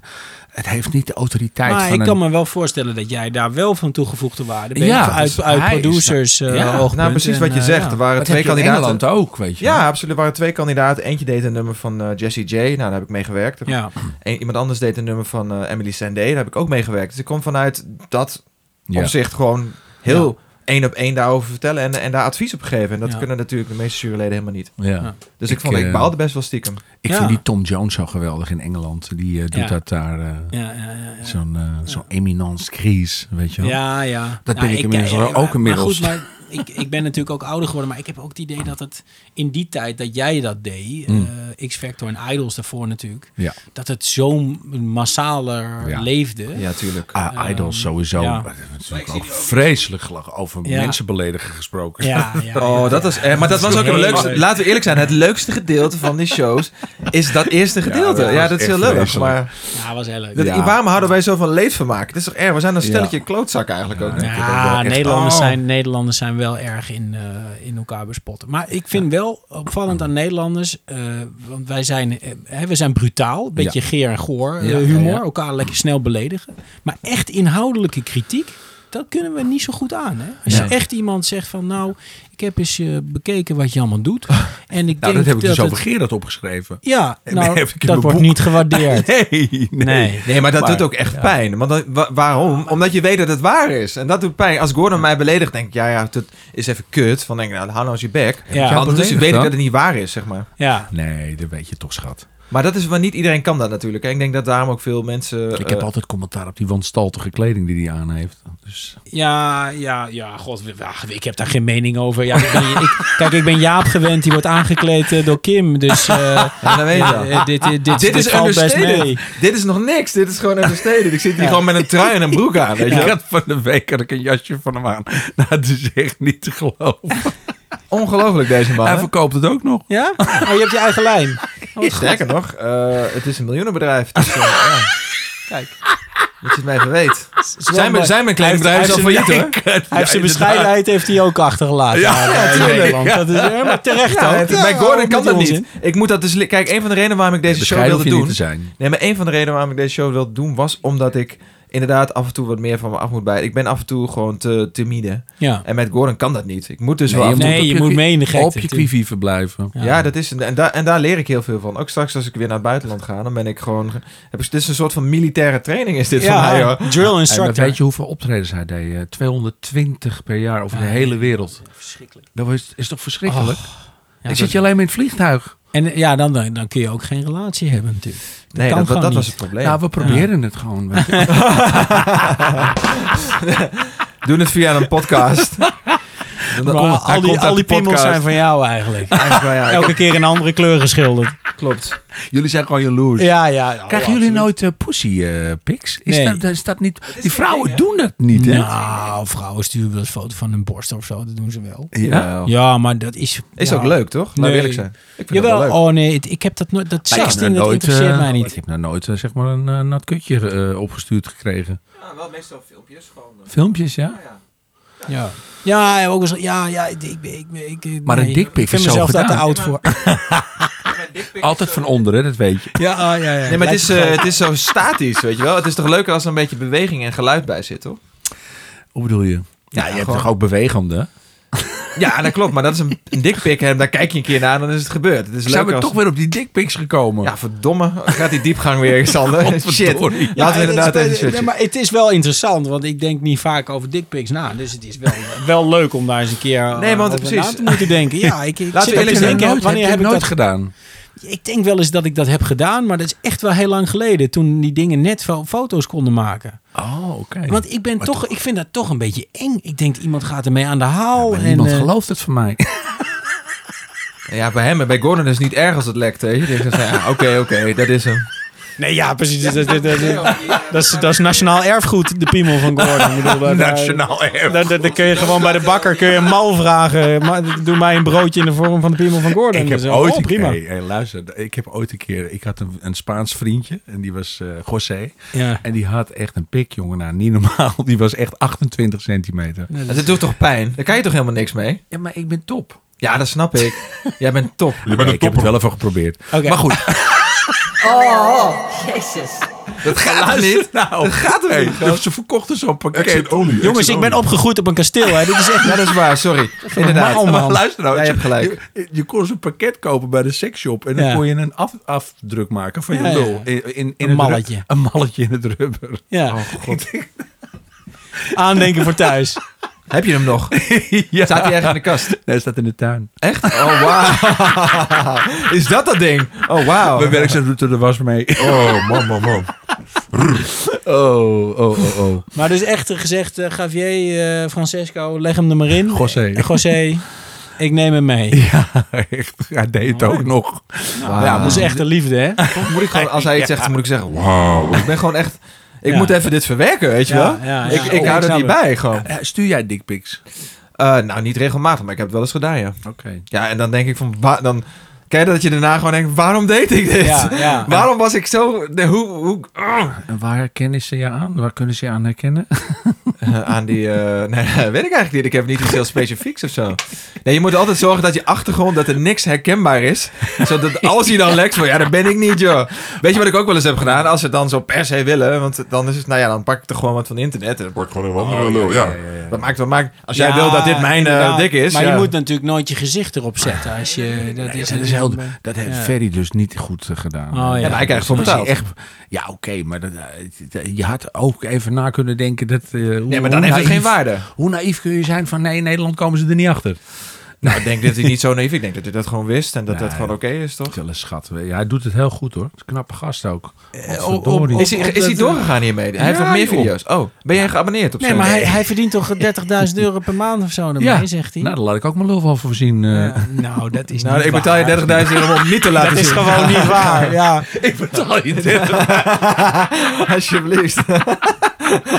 het heeft niet de autoriteit Maar van ik een... kan me wel voorstellen dat jij daar wel van toegevoegde waarde bent. Ja, uit dus uit hij is- producers eh ja, oogpunt. Nou, precies En, wat je eh, zegt. ja. Er waren Dat twee heb je in kandidaten. Engeland ook, weet je wel. Ja, absoluut. Er waren twee kandidaten. Eentje deed een nummer van eh, Jesse J. Nou, daar heb ik mee gewerkt. Ja. En iemand anders deed een nummer van eh, Emily Sandé. Daar heb ik ook mee gewerkt. Dus ik kom vanuit dat Ja. opzicht gewoon heel één op één daarover vertellen en, en daar advies op geven. En dat Ja. kunnen natuurlijk de meeste juryleden helemaal niet. Ja. Ja. Dus ik, Ik, vond, ik eh, baalde best wel stiekem. Ik Ja. vind die Tom Jones zo geweldig in Engeland. Die eh, doet Ja. dat daar, eh, Ja, ja, ja, ja. zo'n eh, zo'n eminence crise, weet je wel. Ja, ja. Dat ben ik inmiddels eh, ook maar- inmiddels. Maar <laughs> goed, maar ik, ik ben natuurlijk ook ouder geworden. Maar ik heb ook het idee dat het in die tijd dat jij dat deed... Hmm. Mm. eh, X-Factor en Idols daarvoor natuurlijk... Ja. dat het zo massaler Ja. leefde. Ja, tuurlijk. Ah, Ehm, Idols sowieso. ja. Maar dat is natuurlijk ook vreselijk gelach over Ja. mensen beledigen gesproken. Nou, Ja, ja, <laughs> Oh, dat was, eh, maar dat <laughs> was ook het leukste. Laten we eerlijk zijn, het leukste gedeelte van die shows is dat <laughs> eerste gedeelte. Ja, dat dat, was is heel echt leuk. vreselijk. Maar Ja, was heel leuk. dat, Ja. waarom houden wij zo van leedvermaak? Het is toch erg? We zijn een stelletje klootzakken eigenlijk ook. Ja. denk ik. ook wel Ja, echt- Nederlanders, Oh. zijn, Nederlanders zijn wel erg in, eh, in elkaar bespotten. Maar ik vind wel opvallend aan Nederlanders, eh, want wij zijn, eh, hè, we zijn brutaal, een beetje geer en goor eh, Ja, ja, humor, ja. elkaar lekker snel beledigen. Maar echt inhoudelijke kritiek, dat kunnen we niet zo goed aan. Hè? Als Ja. je echt iemand zegt van nou, ik heb eens eh, bekeken wat je allemaal doet. En ik Nou, denk dat heb ik dus dat over het- Gerard opgeschreven. Ja, Nee, nou, heb ik in dat mijn wordt boek. niet <laughs> gewaardeerd. Nee, Nee. Nee, maar dat Maar- doet ook echt pijn. Want dan- wa- waarom? Omdat je weet dat het waar is. En dat doet pijn. Als Gordon mij beledigt, denk ik, ja, ja, dat is even kut. Van denk ik, nou, hou nou eens je bek. Ja. Maar Anders beledigd weet ik dan? dat het niet waar is, zeg maar. Ja. Nee, dat weet je toch, schat. Maar dat is waar niet iedereen kan dat natuurlijk. En ik denk dat daarom ook veel mensen... Ik eh, heb altijd commentaar op die wanstaltige kleding die hij aan heeft. Dus Ja, ja, ja, god, w- ja, ik heb daar geen mening over. Ja, ik ben, ik, kijk, ik ben Jaap gewend, die wordt aangekleed eh, door Kim, dus eh, ja, dan weet je dat. eh, dit, dit, dit, Dit is dit valt best mee. understated. Dit is nog niks. Dit is gewoon understated. Ik zit hier gewoon met een trui en een broek aan, weet je ik wel. had van de week had ik een jasje van hem aan. <laughs> Nou, dat is echt niet te geloven. Ongelooflijk deze man. Hij hè? verkoopt het ook nog. Ja? Oh, je hebt je eigen lijn. Oh, Sterker nog, eh, het is een miljoenenbedrijf. Dus, eh, ja. Kijk, dat je het mij even weet. Zijn mijn, zijn mijn kleine Hij bedrijven heeft- is al hij failliet, hoor. Hij heeft zijn bescheidenheid heeft hij ook achtergelaten. Ja, daar, eh, in tuurlijk. Nederland. Dat is helemaal terecht Ja, ook. het- Ja, bij Gordon waarom kan dat je niet. onzin? Ik moet dat dus. li- Kijk, een van de redenen waarom ik deze show wilde je niet doen. te zijn. Nee, maar een van de redenen waarom ik deze show wilde doen was omdat ik inderdaad af en toe wat meer van me af moet bijten. Ik ben af en toe gewoon te timide. Ja. En met Gordon kan dat niet. Ik moet dus wel. je af en toe- Nee, moet op je je moet qui- mee in de gekte. Op je quivi verblijven. Ja, dat is en, daar en daar leer ik heel veel van. Ook straks als ik weer naar het buitenland ga, dan ben ik gewoon. ge- Heb ik, dit is een soort van militaire training, is dit Ja, van mij, hoor. drill Hey, maar instructor. weet je hoeveel optredens hij deed? Eh, 220 per jaar over de hele wereld. Verschrikkelijk. Dat is, is toch verschrikkelijk? Ja, ik dat- zit je alleen maar in het vliegtuig. En ja, dan, dan, dan kun je ook geen relatie hebben natuurlijk. Nee, kan dat, dat, gewoon was niet. het probleem. Nou, we proberen het gewoon. weet je. Doen het via een <laughs> podcast. Dan- Maar oh, hij al die, komt uit al die de piemels podcast. zijn van jou eigenlijk. Eigenlijk wel, ja, ik- Elke keer een andere kleur geschilderd. klopt. <laughs> jullie zijn gewoon jaloers. Ja, ja. Oh, ja. Krijgen jullie nooit eh, pussy eh, pics? Is, Nee. dat, is dat niet... Die vrouwen doen dat niet, hè? Nou, vrouwen sturen wel eens foto van hun borst of zo. Dat doen ze wel. Ja. Ja, maar dat is... Is ja. ook leuk, toch? Laat Nee. eerlijk zijn. Ik vind dat wel Jawel, leuk. oh nee, het- ik heb dat nooit... Dat Maar ik heb 16, nog dat nooit, interesseert eh, mij Ik niet. heb nog nooit eh, zeg maar een eh, nat kutje eh, opgestuurd gekregen. Ja, wel meestal filmpjes gewoon. eh, Filmpjes, ja? Ja, ja, ja, ook eens, ja, ja ik, ik, ik, ik- ik- Maar een nee, dikpik Ik vind is zo mezelf daar te gedaan. oud <laughs> voor. Altijd van onder, hè? Dat weet je. Ja, ja, ja. Nee, maar het is, eh, het is zo statisch, weet je wel. Het is toch leuker als er een beetje beweging en geluid bij zit, toch? Hoe bedoel je? Ja, je hebt gewoon- toch ook bewegende? Ja, dat klopt. Maar dat is een, een dikpik. hè. Daar kijk je een keer naar, dan is het gebeurd. Het is Zijn we leuker als... toch weer op die dickpics gekomen? Ja, verdomme. Gaat die diepgang weer, <laughs> Sander. Shit. Laten Godverdorie. we Ja, het is- inderdaad even een nee, shirtje. maar het is wel interessant, want ik denk niet vaak over dickpics na. Dus het is wel, wel leuk om daar eens een keer eh, Nee, want over precies. na te moeten denken. Ja, ik, ik <laughs> Laten zit we ook eerlijk te zijn, denken, nooit, wanneer heb ik nooit dat gedaan? Ik denk wel eens dat ik dat heb gedaan, maar dat is echt wel heel lang geleden. Toen die dingen net fo- foto's konden maken. Oh, oké. Want ik, ben toch, ik vind dat toch een beetje eng. Ik denk, iemand gaat ermee aan de haal. Maar en, niemand eh, gelooft het van <laughs> mij. Ja, bij hem en bij Gordon is het niet erg als het lekt, hè. Je denkt, dan, ja, oké, oké, dat is hem. Nee, ja, precies. Dus Dat, dat, dat, dat- dat is, dat is nationaal erfgoed, de piemel van Gordon. Ik bedoel, daar- daar- erg. daar- daar- daar kun je gewoon bij de bakker kun je een mal vragen. Maar, doe mij een broodje in de vorm van de piemel van Gordon. Ik heb Dus, ooit oh, een prima. Hey, hey, luister, ik heb ooit een keer. Ik had een, een Spaans vriendje en die was eh José. Ja. En die had echt een pik, jongen. Nou, niet normaal. <laughs> Die was echt 28 centimeter. Dat doet toch pijn? Daar kan je toch helemaal niks mee? Ja, maar ik ben top. Ja, dat snap ik. Jij bent top. Je bent Nee, een ik heb het topper. wel even geprobeerd. Oké. Maar goed, Oh, jezus. <laughs> Dat gaat dus niet. nou, Dat gaat er hey, niet. gast. ze verkochten zo'n pakket. Exit olie. Jongens, exit ik ben olie. opgegroeid op een kasteel. Hè. Dit is echt... Ja, dat is waar. Sorry. Inderdaad. Maar, maar luister nou, Oh, Jij hebt gelijk. Je, je kon zo'n pakket kopen bij de seksshop en dan Ja. kon je een af, afdruk maken van je Ja, ja, lul. ja. In, in, in Een het ru- malletje. <laughs> Een malletje in het rubber. Oh. Ja. <laughs> Aandenken voor thuis. Heb je hem <laughs> nog? ja. Staat hij ergens in de kast? Nee, staat in de tuin. Echt? Oh, wauw. <laughs> Is dat dat ding? Oh, wauw. Mijn werkzaam doet er de was mee. <laughs> Oh, man, man, man. Oh, oh, oh, oh. Maar dus echt eh, gezegd, eh, Javier, eh, Francesco, leg hem er maar in. José. Eh, José, ik neem hem mee. Ja, echt. Hij deed het ook nog. Wauw. Ja, dat is echt de liefde, hè? Moet ik gewoon, als hij iets zegt, dan moet ik zeggen... wauw. Wauw. Ik ben gewoon echt... Ik Ja. moet even dit verwerken, weet je Ja, wel? ja, ja. Ik, ik Oh, hou ik er snap niet het. bij, gewoon. Eh, Stuur jij dickpics? Eh, nou, niet regelmatig, maar ik heb het wel eens gedaan, ja. Oké. Ja, en dan denk ik van... wa- dan, ken je dat je daarna gewoon denkt... Waarom deed ik dit? Ja, ja. <laughs> Waarom was ik zo... de- hoe, hoe, En waar herkennen ze je aan? Waar kunnen ze je aan herkennen? Eh, <laughs> aan die... eh, nee, <laughs> weet ik eigenlijk niet. Ik heb niet iets heel specifieks of zo. Nee, je moet altijd zorgen dat je achtergrond... dat er niks herkenbaar is. <laughs> Zodat als je dan lekt van... Ja, dat ben ik niet, joh. Weet je wat ik ook wel eens heb gedaan? Als ze het dan zo per se willen... want dan is het... Nou ja, dan pak ik er gewoon wat van internet. Oh, En Wordt gewoon een andere lul, ja. Wat maakt, wat maakt... Als jij Ja, wil dat dit mijn eh, inderdaad. dik is... Maar ja. je moet natuurlijk nooit je gezicht erop zetten. Als je, dat is, dat, is heel, dat heeft Ja. Ferry dus niet goed eh, gedaan. Oh, ja. Ja, maar hij krijgt voor Dat is betaald. Echt, ja, oké, maar dat, eh, je had ook even na kunnen denken dat... eh, hoe, Nee, maar hoe dan heeft het geen naïef- <laughs> waarde. Hoe naïef kun je zijn van nee, in Nederland komen ze er niet achter. Nou, ik denk dat hij niet zo naïef... Ik denk dat hij dat gewoon wist... en dat dat Nee. gewoon oké is, toch? Wel een schat. Ja, hij doet het heel goed hoor. Het is een knappe gast ook. Eh, op- op- Is hij, is hij doorgegaan hiermee? Hij heeft Ja, nog meer joh. video's. Oh, ben jij geabonneerd op Nee, zo'n- maar hij, hij verdient toch 30.000 euro per maand of zo? Dan Ja. mee, zegt hij. Nou, daar laat ik ook mijn lul van voorzien. eh. Ja, nou, dat <laughs> is Nou, niet ik betaal je waar. 30.000 euro om het niet te laten Dat zien. is gewoon niet <laughs> waar. Ja. Ik betaal <laughs> je dit. Alsjeblieft.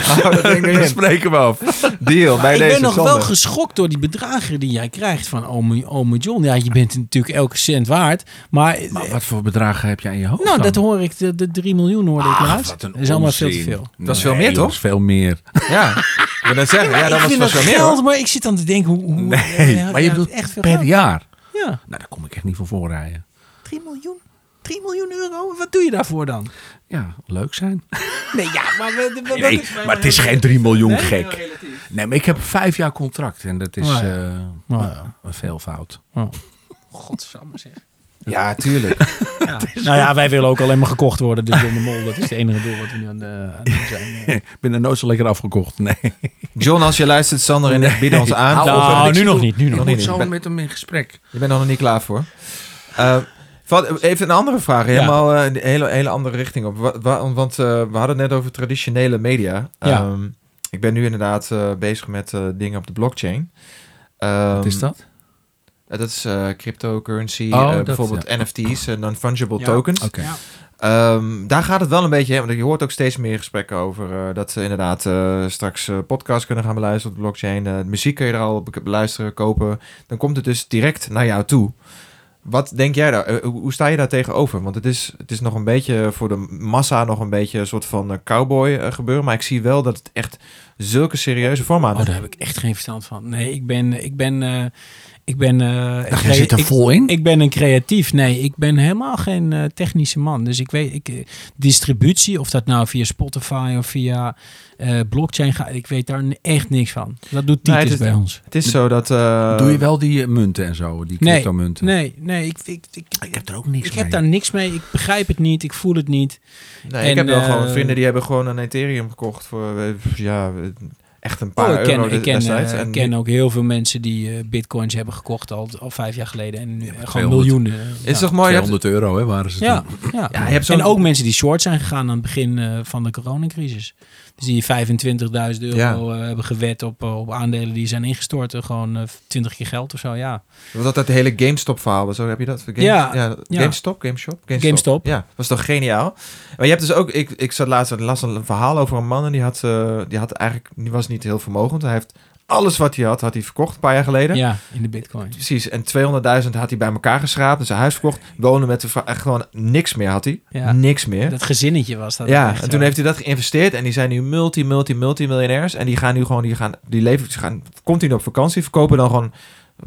Hou dat ding Dat erin. spreken we <laughs> af. Deal, bij Ik deze. ben nog Sander. wel geschokt door die bedragen die jij krijgt van ome, ome John. Ja, je bent natuurlijk elke cent waard. Maar, Maar wat voor bedragen heb jij in je hoofd nou, dan? dat hoor ik. De, de 3 miljoen hoorde ik Ach, laatst. Ah, wat een dat is allemaal onzin. veel te veel. Dat is veel meer, joh, toch? dat is veel meer. Ja, ik wil net zeggen. Ja, dat ik was vind wel dat zo meer. geld, hoor. maar ik zit aan te denken hoe... hoe Nee, ja, maar je ja, bedoelt echt veel per geld. jaar. Ja. Nou, daar kom ik echt niet voor voorrijden. 3 miljoen? 3 miljoen euro? Wat doe je daarvoor dan? Ja, leuk zijn. Nee, ja, maar... we- we- we- <laughs> Nee, dat maar het is geen 3 miljoen gek. Nee, maar ik heb vijf jaar contract en dat is Oh ja. eh, Oh een veelvoud. <laughs> Godsamme zeg. Ja, tuurlijk. Nou ja, wij willen ook alleen maar gekocht worden. Dus John de Mol, dat is het enige doel wat we nu aan, eh, aan <laughs> doen zijn. ik ben er nooit zo lekker afgekocht. Nee. John, als je luistert, Sander en ik bieden ons aan. Hou Nou, op, hè. nu Ik nog bedoel, niet, nu nog ik niet. moet Ik zo ben- met hem in gesprek. Je bent er nog niet klaar voor. Eh, wat- even een andere vraag. Helemaal eh, een hele, hele andere richting op. Wa- wa- want eh, we hadden het net over traditionele media. Ja. Ehm, ik ben nu inderdaad eh, bezig met eh, dingen op de blockchain. Wat is Ehm, dat? Eh, Dat is eh, cryptocurrency, Oh, eh, dat, bijvoorbeeld NFT's, eh, non-fungible Ja. tokens. Oké. Ja. Ehm, daar gaat het wel een beetje, hè, want je hoort ook steeds meer gesprekken over eh, dat ze inderdaad eh, straks eh, podcasts kunnen gaan beluisteren op de blockchain. Eh, muziek kun je er al op beluisteren, kopen. Dan komt het dus direct naar jou toe. Wat denk jij daar? eh, hoe hoe sta je daar tegenover? Want het is, het is nog een beetje voor de massa nog een beetje een soort van eh, cowboy eh, gebeuren. Maar ik zie wel dat het echt zulke serieuze vorm aan. Oh, daar heb ik echt geen verstand van. Nee, ik ben... Ik ben, eh, ik ben, eh, Ach, crea- jij zit er ik- vol in? Ik ben een creatief. Nee, ik ben helemaal geen eh, technische man. Dus ik weet, ik, eh, distributie, of dat nou via Spotify of via eh, blockchain gaat, ik weet daar n- echt niks van. Dat doet Nee, Titus het is- bij ons. het is zo dat. eh, Doe je wel die eh, munten en zo, die Nee, cryptomunten? Nee, nee, ik, ik, ik, Ik heb er ook niks ik mee. heb daar niks mee. Ik begrijp het niet. Ik voel het niet. Nee, En, ik heb wel eh, gewoon vrienden die hebben gewoon een Ethereum gekocht voor eh, ja, echt een paar Oh, ik euro ken, de- ik ken, destijds. eh, En ik ken ook heel veel mensen die eh, bitcoins hebben gekocht al, al vijf jaar geleden. En eh, gewoon 200. miljoenen. eh, het is ja. toch Oh, mooi? Je hebt, 200 euro hè, waren ze Ja, toen. ja. ja, je hebt zo'n- en ook mensen die short zijn gegaan aan het begin eh, van de coronacrisis. Dus die 25.000 euro Ja. eh, hebben gewet op, eh, op aandelen die zijn ingestort. eh, gewoon eh, 20 keer geld of zo, ja. wat dat, dat hele GameStop verhaal was, zo heb je dat? Game- Ja, ja. GameStop, GameShop, GameStop. Ja, was toch geniaal. Maar je hebt dus ook, ik, ik zat laatst las een verhaal over een man en die had, eh, die had eigenlijk, die was niet heel vermogend. Hij heeft alles wat hij had, had hij verkocht een paar jaar geleden. Ja, in de bitcoin. Precies, en 200.000 had hij bij elkaar geschraapt en zijn huis verkocht. Wonen met de vrouw, echt gewoon niks meer had hij. Ja. Niks meer. Dat gezinnetje was dat. Ja, echt, eh, en toen heeft hij dat geïnvesteerd en die zijn nu multi, multi, multi miljonairs. En die gaan nu gewoon, die gaan, die leven, ze gaan continu op vakantie, verkopen dan gewoon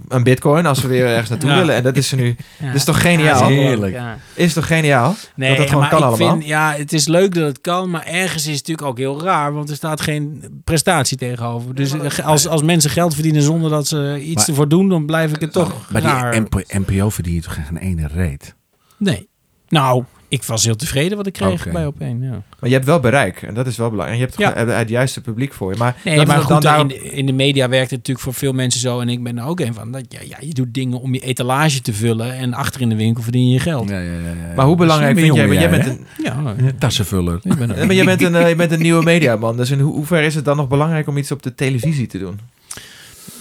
een bitcoin als we weer ergens naartoe <laughs> Ja. willen. En dat is er nu. Ja. Dat is toch Ja, geniaal? dat is Heerlijk. Ja. Is toch geniaal? Nee, dat het gewoon maar kan ik allemaal. Vind, ja, het is leuk dat het kan, maar ergens is het natuurlijk ook heel raar, want er staat geen prestatie tegenover. Dus eh, als, als mensen geld verdienen zonder dat ze iets Maar- ervoor doen, dan blijf ik het Oh, toch Maar raar. die NP NPO verdien je toch geen ene reet? Nee. Nou, ik was heel tevreden wat ik kreeg Oké. bij Opeen. Ja. Maar je hebt wel bereik. En dat is wel belangrijk. En je hebt Ja. gewoon- eh, het juiste publiek voor je. Maar, Nee, dat maar is goed, dan eh, daarom- in, de, in de media werkt het natuurlijk voor veel mensen zo. En ik ben er ook een van. Dat, ja, ja, je doet dingen om je etalage te vullen. En achter in de winkel verdien je je geld. ja, ja, ja. maar hoe belangrijk vind jij... jongen want jij jij, bent hè? een, Ja, Tassenvuller. ik ben er. Ja, <laughs> <laughs> maar jij bent een, eh, je bent een nieuwe mediaman. Dus in ho hoeverre is het dan nog belangrijk om iets op de televisie te doen?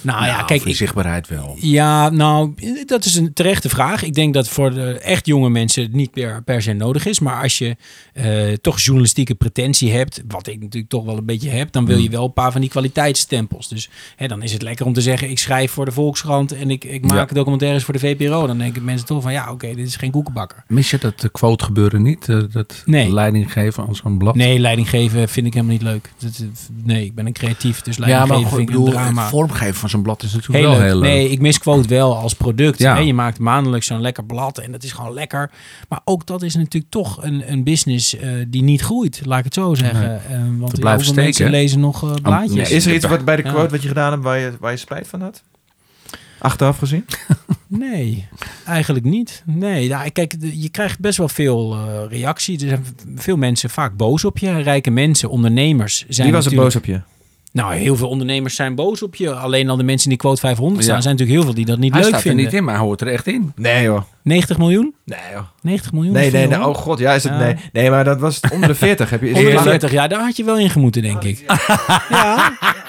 Nou ja, Nou, kijk, voor ik, die zichtbaarheid wel. Ja, nou, dat is een terechte vraag. Ik denk dat voor de echt jonge mensen het niet per, per se nodig is. Maar als je eh, toch journalistieke pretentie hebt, wat ik natuurlijk toch wel een beetje heb, dan Mm. wil je wel een paar van die kwaliteitsstempels. Dus hè, dan is het lekker om te zeggen, ik schrijf voor de Volkskrant en ik, ik maak documentaires voor de VPRO. Dan denken mensen toch van, ja, oké, dit is geen koekenbakker. Mis je dat eh, quote gebeuren niet? Eh, Dat Nee. leiding geven aan zo'n blad? Nee, leiding geven vind ik helemaal niet leuk. Dat- dat- Nee, ik ben een creatief, dus Ja, leiding maar geven goed, ik vind ik een bedoel, het drama. vormgeven van zo'n blad is natuurlijk Heel wel leuk. heel leuk. Nee, ik mis Quote wel als product. Ja. Hè, je maakt maandelijks zo'n lekker blad en dat is gewoon lekker. Maar ook dat is natuurlijk toch een, een business eh, die niet groeit, laat ik het zo zeggen. Eh, want blijft ja, hoeveel steken, mensen hè? lezen nog eh, blaadjes? nee. Is er iets wat bij de Ja. quote wat je gedaan hebt waar je, waar je spijt van had? Achteraf gezien? Nee, eigenlijk niet. Nee, nou, kijk, de- je krijgt best wel veel eh, reactie. Er zijn v- veel mensen vaak boos op je. Rijke mensen, ondernemers zijn Wie was er natuurlijk- boos op je? Nou, heel veel ondernemers zijn boos op je. Alleen al de mensen die Quote 500 staan, Ja. zijn natuurlijk heel veel die dat niet Hij leuk staat vinden. er niet in, maar hij hoort er echt in. Nee joh. 90 miljoen? Nee joh. 90 miljoen? Nee, is nee, veel, nee. hoor. Oh god, ja, is het Ja. nee. Nee, maar dat was het onder de 40. Heb je, is het- 140 jaar, daar had je wel in gemoeten, denk ik. Ja. ja.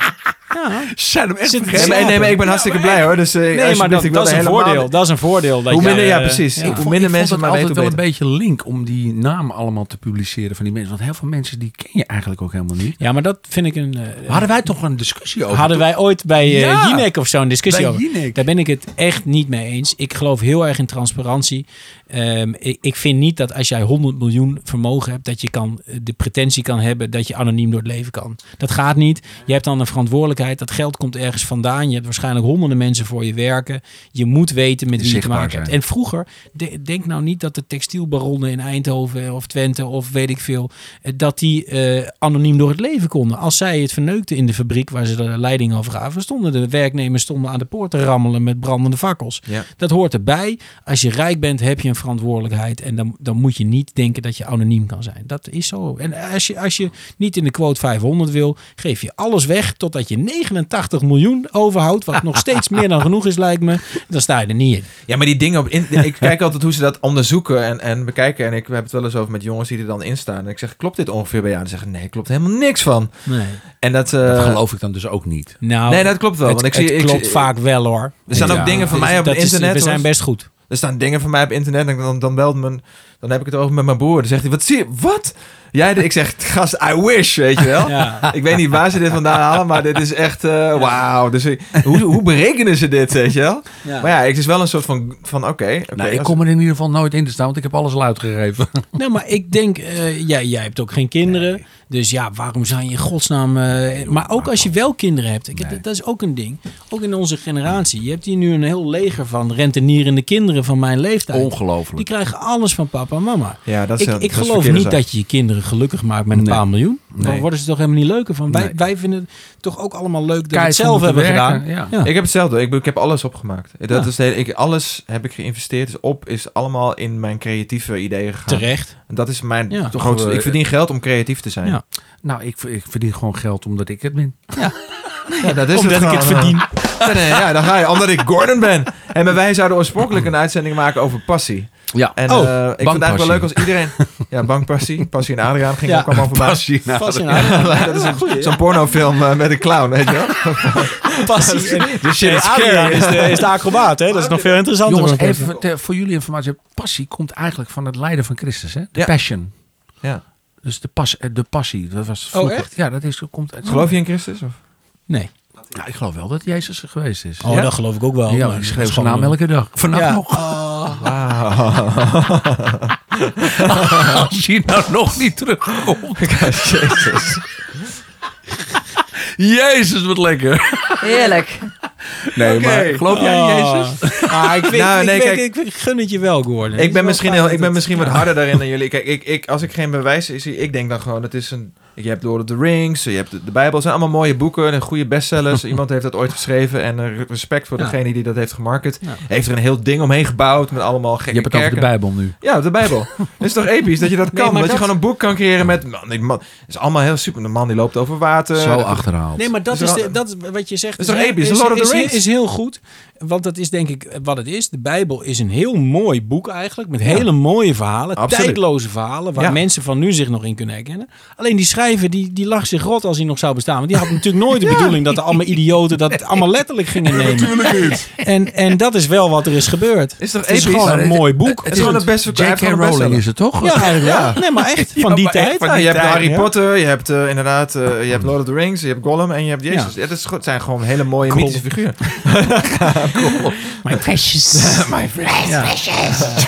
Zijn hem echt Zit- Nee, maar, nee, maar ik ben hartstikke blij hoor. Dus, eh, Nee, maar alsjeblieft, dat, ik wil dat is er een helemaal- voordeel. Dat is een voordeel. Dat Hoe jij, minder, ja, eh, precies. ja. Ik Hoe minder mensen maar maar altijd weten, wel hoe een beetje link om die namen allemaal te publiceren van die mensen. Want heel veel mensen die ken je eigenlijk ook helemaal niet. Ja, maar dat vind ik een... eh, Hadden wij toch een discussie over? hadden wij ooit bij eh Ja. Jinek of zo een discussie Bij over. Jinek. Daar ben ik het echt niet mee eens. Ik geloof heel erg in transparantie. Ehm, ik, ik vind niet dat als jij 100 miljoen vermogen hebt, dat je kan, eh, de pretentie kan hebben dat je anoniem door het leven kan. Dat gaat niet. Je hebt dan een verantwoordelijkheid. Dat geld komt ergens vandaan. Je hebt waarschijnlijk honderden mensen voor je werken. Je moet weten met wie je te Zichtbaar maken hebt. zijn. En vroeger, de- denk nou niet dat de textielbaronnen in Eindhoven of Twente of weet ik veel, eh, dat die eh, anoniem door het leven konden. Als zij het verneukten in de fabriek waar ze de leiding over gaven, stonden de werknemers stonden aan de poort te rammelen met brandende fakkels. Ja. Dat hoort erbij. Als je rijk bent, heb je een verantwoordelijkheid. En dan, dan moet je niet denken dat je anoniem kan zijn. Dat is zo. En als je, als je niet in de quote 500 wil, geef je alles weg totdat je 89 miljoen overhoudt. Wat nog steeds meer dan genoeg is, lijkt me. Dan sta je er niet in. Ja, maar die dingen op... <laughs> in- ik kijk altijd hoe ze dat onderzoeken en, en bekijken. En ik heb het wel eens over met jongens die er dan in staan. En ik zeg, klopt dit ongeveer bij jou? En ze zeggen, nee, klopt helemaal niks van. Nee. En dat... eh, Dat geloof ik dan dus ook niet. Nou, nee, dat klopt wel. het, want ik het zie, ik klopt zie- vaak wel hoor. Er staan Ja, ook dingen van Dus mij op dat het is- internet. we zijn hoor. best goed. Er staan dingen van mij op internet. En dan, dan belt mijn. Dan heb ik het over met mijn broer. Dan zegt hij: Wat zie je? Wat? Jij, de-" ik zeg: Gast, I wish. Weet je wel. Ja. Ik weet niet waar ze dit vandaan halen. Maar dit is echt. eh, Wauw. Dus eh, hoe, hoe berekenen ze dit? Weet je wel? Maar ja, het is wel een soort van. van Oké. oké, nou, ik als- kom er in ieder geval nooit in te staan, want ik heb alles al uitgegeven. Nou, maar ik denk, eh, jij, jij hebt ook geen kinderen. Dus ja, waarom zou je in godsnaam. eh, maar ook als je wel kinderen hebt. Ik, dat, dat is ook een ding. Ook in onze generatie. Je hebt hier nu een heel leger van rentenierende kinderen van mijn leeftijd. Die <laughs> Ongelooflijk. krijgen alles van papa en mama. Ja, dat is, Ik, dat ik is geloof verkeerde niet zaak. dat je je kinderen gelukkig maakt met een Nee. paar miljoen. Dan Nee. worden ze toch helemaal niet leuker van. Wij, Nee. wij vinden het toch ook allemaal leuk dat we Keihard het zelf moeten hebben werken, gedaan. ja. Ik heb hetzelfde. Ik, bedoel, ik heb alles opgemaakt. Dat Ja. is de hele- ik, alles heb ik geïnvesteerd. Dus op is allemaal in mijn creatieve ideeën gegaan. Terecht. En Dat is mijn Ja. grootste. Ik verdien geld om creatief te zijn. Ja. Nou, ik, ik verdien gewoon geld omdat ik het ben. Ja, dat is Omdat ik het gewoon, eh. verdien. Nee, nee, ja, dan ga je. Omdat ik Gordon ben. En maar wij zouden oorspronkelijk een uitzending maken over passie. Ja. En Oh, eh, ik vind het eigenlijk wel leuk als bankpassie. iedereen... Ja, bankpassie. Passie en Adriaan ging Ja. ook allemaal voorbij. Fascinatie. Ja, <laughs> dat is een- zo'n pornofilm eh, met een clown, weet je wel? <laughs> passie. En, This shit is Adriaan scary. is de, is de acrobaat, hè? Dat is nog veel interessanter. Jongens, voor een even ter- voor jullie informatie. Passie komt eigenlijk van het lijden van Christus. Hè? De Ja. passion. Ja. Dus de, pas, eh, de passie. Dat was vroeger. Oh, echt? Ja, dat is, komt uit. Geloof je in Christus? Of? Nee. Ja, ik geloof wel dat Jezus er geweest is. Oh, Ja? dat geloof ik ook wel. ja, maar ik dat schreef is zijn gewoon naam een- elke dag. Vannacht Ja. Oh. nog. <laughs> Wauw. Als hij nou nog niet <laughs> terugkomt. Jezus. Jezus, wat lekker. <laughs> Heerlijk. Nee, Oké. maar geloof Oh. jij in Jezus? Ah, ik, vind, Oh. Nou, ik, nee, weet- kijk. ik, ik gun het je wel, Gordon. Ik ben misschien, heel, ik ben misschien wat harder daarin dan jullie. Kijk, ik, ik, als ik geen bewijs zie, ik denk dan gewoon, het is een... Je hebt Lord of the Rings, je hebt de, de Bijbel. Het zijn allemaal mooie boeken en goede <laughs> bestsellers. Iemand heeft dat ooit geschreven en eh, respect voor Ja. degene die dat heeft gemarket. Ja. Heeft er een heel ding omheen gebouwd met allemaal Je gekke hebt het over de kerken. Bijbel nu. Ja, de <laughs> Bijbel. Het is toch episch dat je dat Nee, kan? maar dat je dat- gewoon een boek kan creëren met... Man, die man, het is allemaal heel super. De man die loopt over water. Zo Dat- achterhaald. Eh, Nee, maar dat Dus is, dan- de- dat is wat je zegt. is toch episch? The Lord of the is, Rings. is heel goed. Want dat is denk ik wat het is. De Bijbel is een heel mooi boek eigenlijk. Met hele mooie verhalen. Absoluut. Tijdloze verhalen. Waar Ja. mensen van nu zich nog in kunnen herkennen. Alleen die schrijver die, die lag zich rot als hij nog zou bestaan. Want die had natuurlijk nooit <laughs> de bedoeling dat er allemaal idioten dat allemaal letterlijk gingen nemen. Natuurlijk niet. En, en dat is wel wat er is gebeurd. Is toch Het is episch? gewoon Maar een het- mooi boek. Het is gewoon het beste J.K. Rowling is het toch? Ja, eigenlijk wel. Ja. Nee, maar echt. Van die maar echt tijd. van Ja, die je hebt tijd, Harry ja. Potter, je hebt eh, inderdaad eh, je hebt Lord of the Rings, je hebt Gollum en je hebt Jezus. Ja. dat is, goed- het zijn gewoon hele mooie Gollum. mythische figuren. My precious. My precious.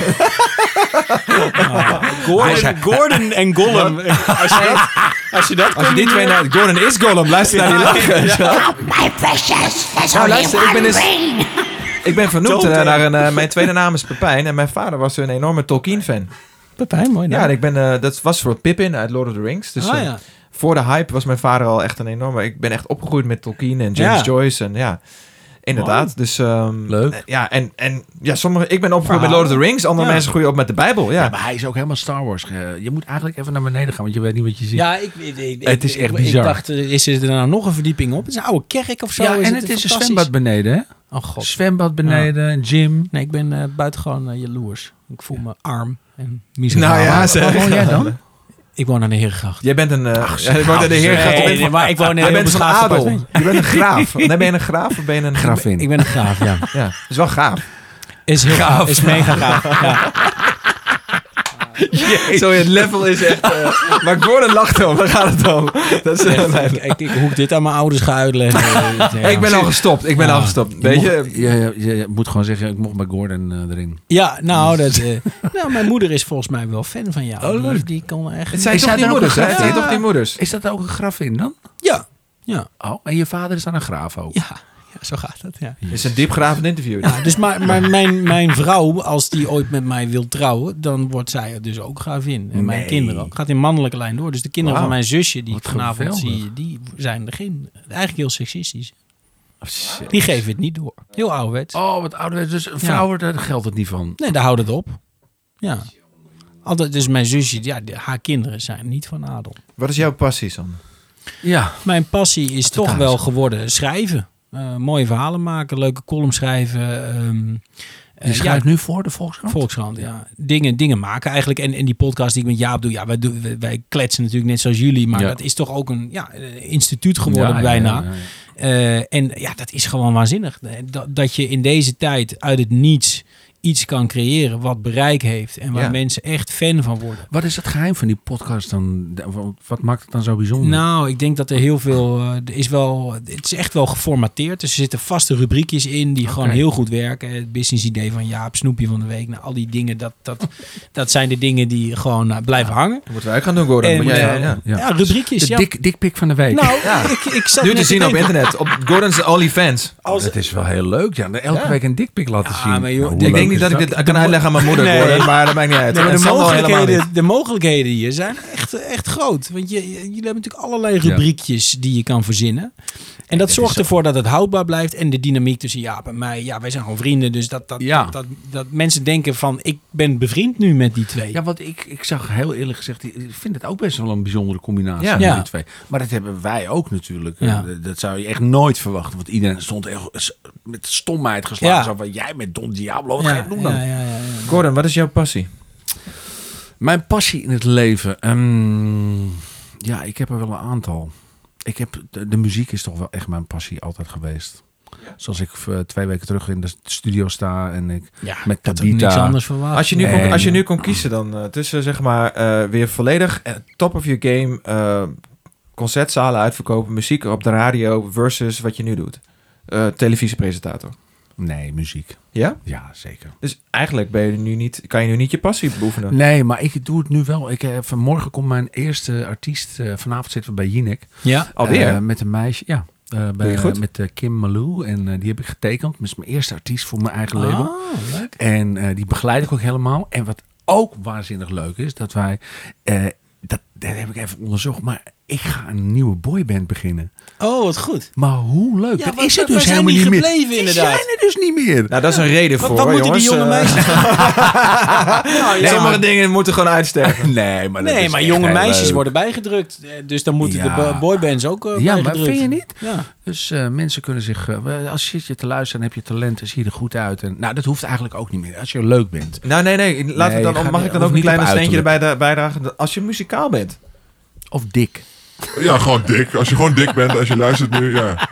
Gordon, Gordon en Gollum. Als je dat, als je dat Als je die twee naar Gordon is Gollum, luister naar die lachen. My precious, there's Nou, only luister, ik ben one eens- ring. Ik ben vernoemd Toon, eh, hè? naar een, eh, mijn tweede naam is Pepijn en mijn vader was een enorme Tolkien-fan. Pepijn, mooi Ja, naam. en ik ben, eh, dat was voor Pippin uit Lord of the Rings. Dus Ah, eh, ja. voor de hype was mijn vader al echt een enorme... Ik ben echt opgegroeid met Tolkien en James Ja. Joyce en ja... Inderdaad, dus... ehm, Leuk. eh, Ja, en, en ja, sommige, ik ben opgegroeid met Verhalen. Lord of the Rings. Andere Ja. mensen groeien op met de Bijbel, ja. Ja, maar hij is ook helemaal Star Wars. ge- Je moet eigenlijk even naar beneden gaan, want je weet niet wat je ziet. Ja, ik, ik- ik- Het is ik- echt ik- bizar. Ik dacht, eh, is er nou nog een verdieping op? Het is een oude kerk of zo. Ja, en het het is een fantastisch? zwembad beneden, hè? Oh god. Zwembad beneden, een gym. Nee, ik ben eh, buitengewoon eh, jaloers. Ik voel me arm en miserabel. nou ja, Waar zeg. woon jij <laughs> dan? Ik woon aan de <laughs> Herengracht. Jij bent een... eh jij wordt naar de heer Nee, gaat op nee, in- maar ik woon in een Jij heel bent van beschaafd adel. appartement. Je bent een <laughs> graaf. Nee, ben je een graaf of ben je een... Grafin. Ik ben een graaf, ja. Ja, dat is wel gaaf. Is heel gaaf. Is mega gaaf. Ja. Zo, het level is echt... eh, maar Gordon lacht om. Waar gaat het om? Dat is, eh, mijn- Ik, ik, ik, hoe ik dit aan mijn ouders ga uitleggen. eh, ja. ik ben al gestopt. Ik ben Ja. al gestopt. Je, Weet je... mocht- je, je- je moet gewoon zeggen, ik mocht bij Gordon eh, erin. Ja, nou, dat, <laughs> eh, nou, mijn moeder is volgens mij wel fan van jou. Oh, leuk. Dus Die kan echt... Het zijn Is toch hij die daar ook moeders, hè? een Het graaf? zijn Ja. toch die moeders? Is dat ook een grafin dan? Ja. Ja. Oh, en je vader is dan een graaf ook. Ja. ja, zo gaat dat, ja. Het is een diepgravend interview. ja dus maar, maar mijn, mijn vrouw, als die ooit met mij wil trouwen, dan wordt zij dus ook gravin. En mijn Nee. kinderen ook. Gaat in mannelijke lijn door. Dus de kinderen Wauw. van mijn zusje, die Wat ik vanavond geweldig. zie, die zijn er geen... Eigenlijk heel seksistisch. Die geven het niet door. Heel ouderwets. Oh, wat ouderwets. Dus vrouwen, daar geldt het niet van. Nee, daar houdt het op. Ja. Altijd, dus mijn zusje, ja, de- haar kinderen zijn niet van adel. Wat is jouw passie, Sam? Ja. Mijn passie is toch thuis. wel geworden schrijven. Eh, mooie verhalen maken, leuke columns schrijven. ehm, eh, Je schrijft ja, nu voor de Volkskrant? Volkskrant, ja. Dingen, dingen maken eigenlijk. En, en die podcast die ik met Jaap doe, ja, wij, doen- wij- wij kletsen natuurlijk net zoals jullie. Maar Ja. dat is toch ook een ja, eh, instituut Ja, geworden ja, ja, bijna. ja. Eh, en ja, dat is gewoon waanzinnig. Eh, Dat, dat je in deze tijd uit het niets iets kan creëren wat bereik heeft. En waar Ja. mensen echt fan van worden. Wat is het geheim van die podcast dan? De- Wat maakt het dan zo Hmm. bijzonder? Nou, ik denk dat er heel veel. eh, Er is wel, het is echt wel geformateerd. Dus er zitten vaste rubriekjes in die gewoon Oké. heel goed werken. Het business idee van Jaap, snoepje van de week. Nou, al die dingen. Dat, dat, <laughs> dat zijn de dingen die gewoon eh, blijven hangen. Oh, Dat moeten wij ook gaan doen, Gordon. En, Moet jij- eh, ja. ja. ja. rubriekjes. de Ja. dik, dikpik van de week. Nou, Ja. ik, ik zat Nu net te zien op denken, internet. Op Gordon's OnlyFans. Als, Het is wel heel leuk. Ja, elke Ja. week een dikpik laten Ah, zien. maar joh, Nou, hoe Ik leuk denk niet is dat ik dit kan uitleggen aan mijn moeder, Nee. Gordon. Maar dat maakt niet uit. Nee, maar En de, Sander al helemaal niet. mogelijkheden, de mogelijkheden hier zijn echt, echt groot. Want je, je- jullie hebben natuurlijk allerlei rubriekjes die je kan verzinnen. En dat zorgt ervoor dat het houdbaar blijft. En de dynamiek tussen Jaap en mij. Ja, wij zijn gewoon vrienden. Dus dat, dat, Ja. dat, dat, dat mensen denken van... ik ben bevriend nu met die twee. Ja, want ik, ik zag heel eerlijk gezegd, ik vind het ook best wel een bijzondere combinatie Ja. van Ja. die twee. Maar dat hebben wij ook natuurlijk. Ja. Eh, Dat zou je echt nooit verwachten. Want iedereen stond echt s- met stomheid geslagen. Ja. Zo van, jij met Don Diablo, wat Ja, ga je doen dan? ja, ja, ja, ja. Gordon, wat is jouw passie? Mijn passie in het leven. ehm, ja, ik heb er wel een aantal. Ik heb, de, de muziek is toch wel echt mijn passie altijd geweest. Zoals ik eh, twee weken terug in de studio sta en ik Ja, met dat had ik niks Tabita. anders verwacht. Als je nu, kon, En- als je nu kon kiezen dan eh, tussen zeg maar eh, weer volledig eh, top of your game eh, concertzalen uitverkopen, muziek op de radio versus wat je nu doet. Eh, televisiepresentator. Nee, muziek. Ja? Ja, zeker. Dus eigenlijk ben je nu niet, kan je nu niet je passie beoefenen. Nee, maar ik doe het nu wel. Ik, eh, vanmorgen komt mijn eerste artiest. eh, vanavond zitten we bij Jinek. Ja. Alweer? Eh, met een meisje. Ja. eh, Doe bij, je goed? met eh, Kim Malou. En eh, die heb ik getekend. Dat is mijn eerste artiest voor mijn eigen label. Ah, leuk. En eh, die begeleid ik ook helemaal. En wat ook waanzinnig leuk is, dat wij. eh, dat, dat heb ik even onderzocht. Maar ik ga een nieuwe boyband beginnen. Oh, wat goed. Maar hoe leuk. Ja, dat waar- is het waar dus zijn helemaal niet die meer. gebleven, Die inderdaad? zijn er dus niet meer. Nou, dat is een reden Wat, voor. wat hoor, moeten die jongens. jonge Eh, meisjes... Nou, Nee, Sommige dingen moeten gewoon uitsterven. <laughs> Nee, maar, dat Nee, is maar echt jonge heel meisjes leuk. worden bijgedrukt. Eh, Dus dan moeten Ja. de bo- boybands ook eh, Ja, maar bijgedrukt. vind je niet? Ja. Dus eh, mensen kunnen zich, eh, als je zit je te luisteren en heb je talent, dan zie je er goed uit. En, nou, dat hoeft eigenlijk ook niet meer. Als je leuk <laughs> bent. Nou, nee, nee. Laten Nee, we je dan, mag gaat niet- ik dan hoeft ook een niet klein op steentje erbij da- bijdragen? Als je muzikaal bent. Of dik. Ja, gewoon dik. Als je gewoon dik bent, als je luistert nu, ja.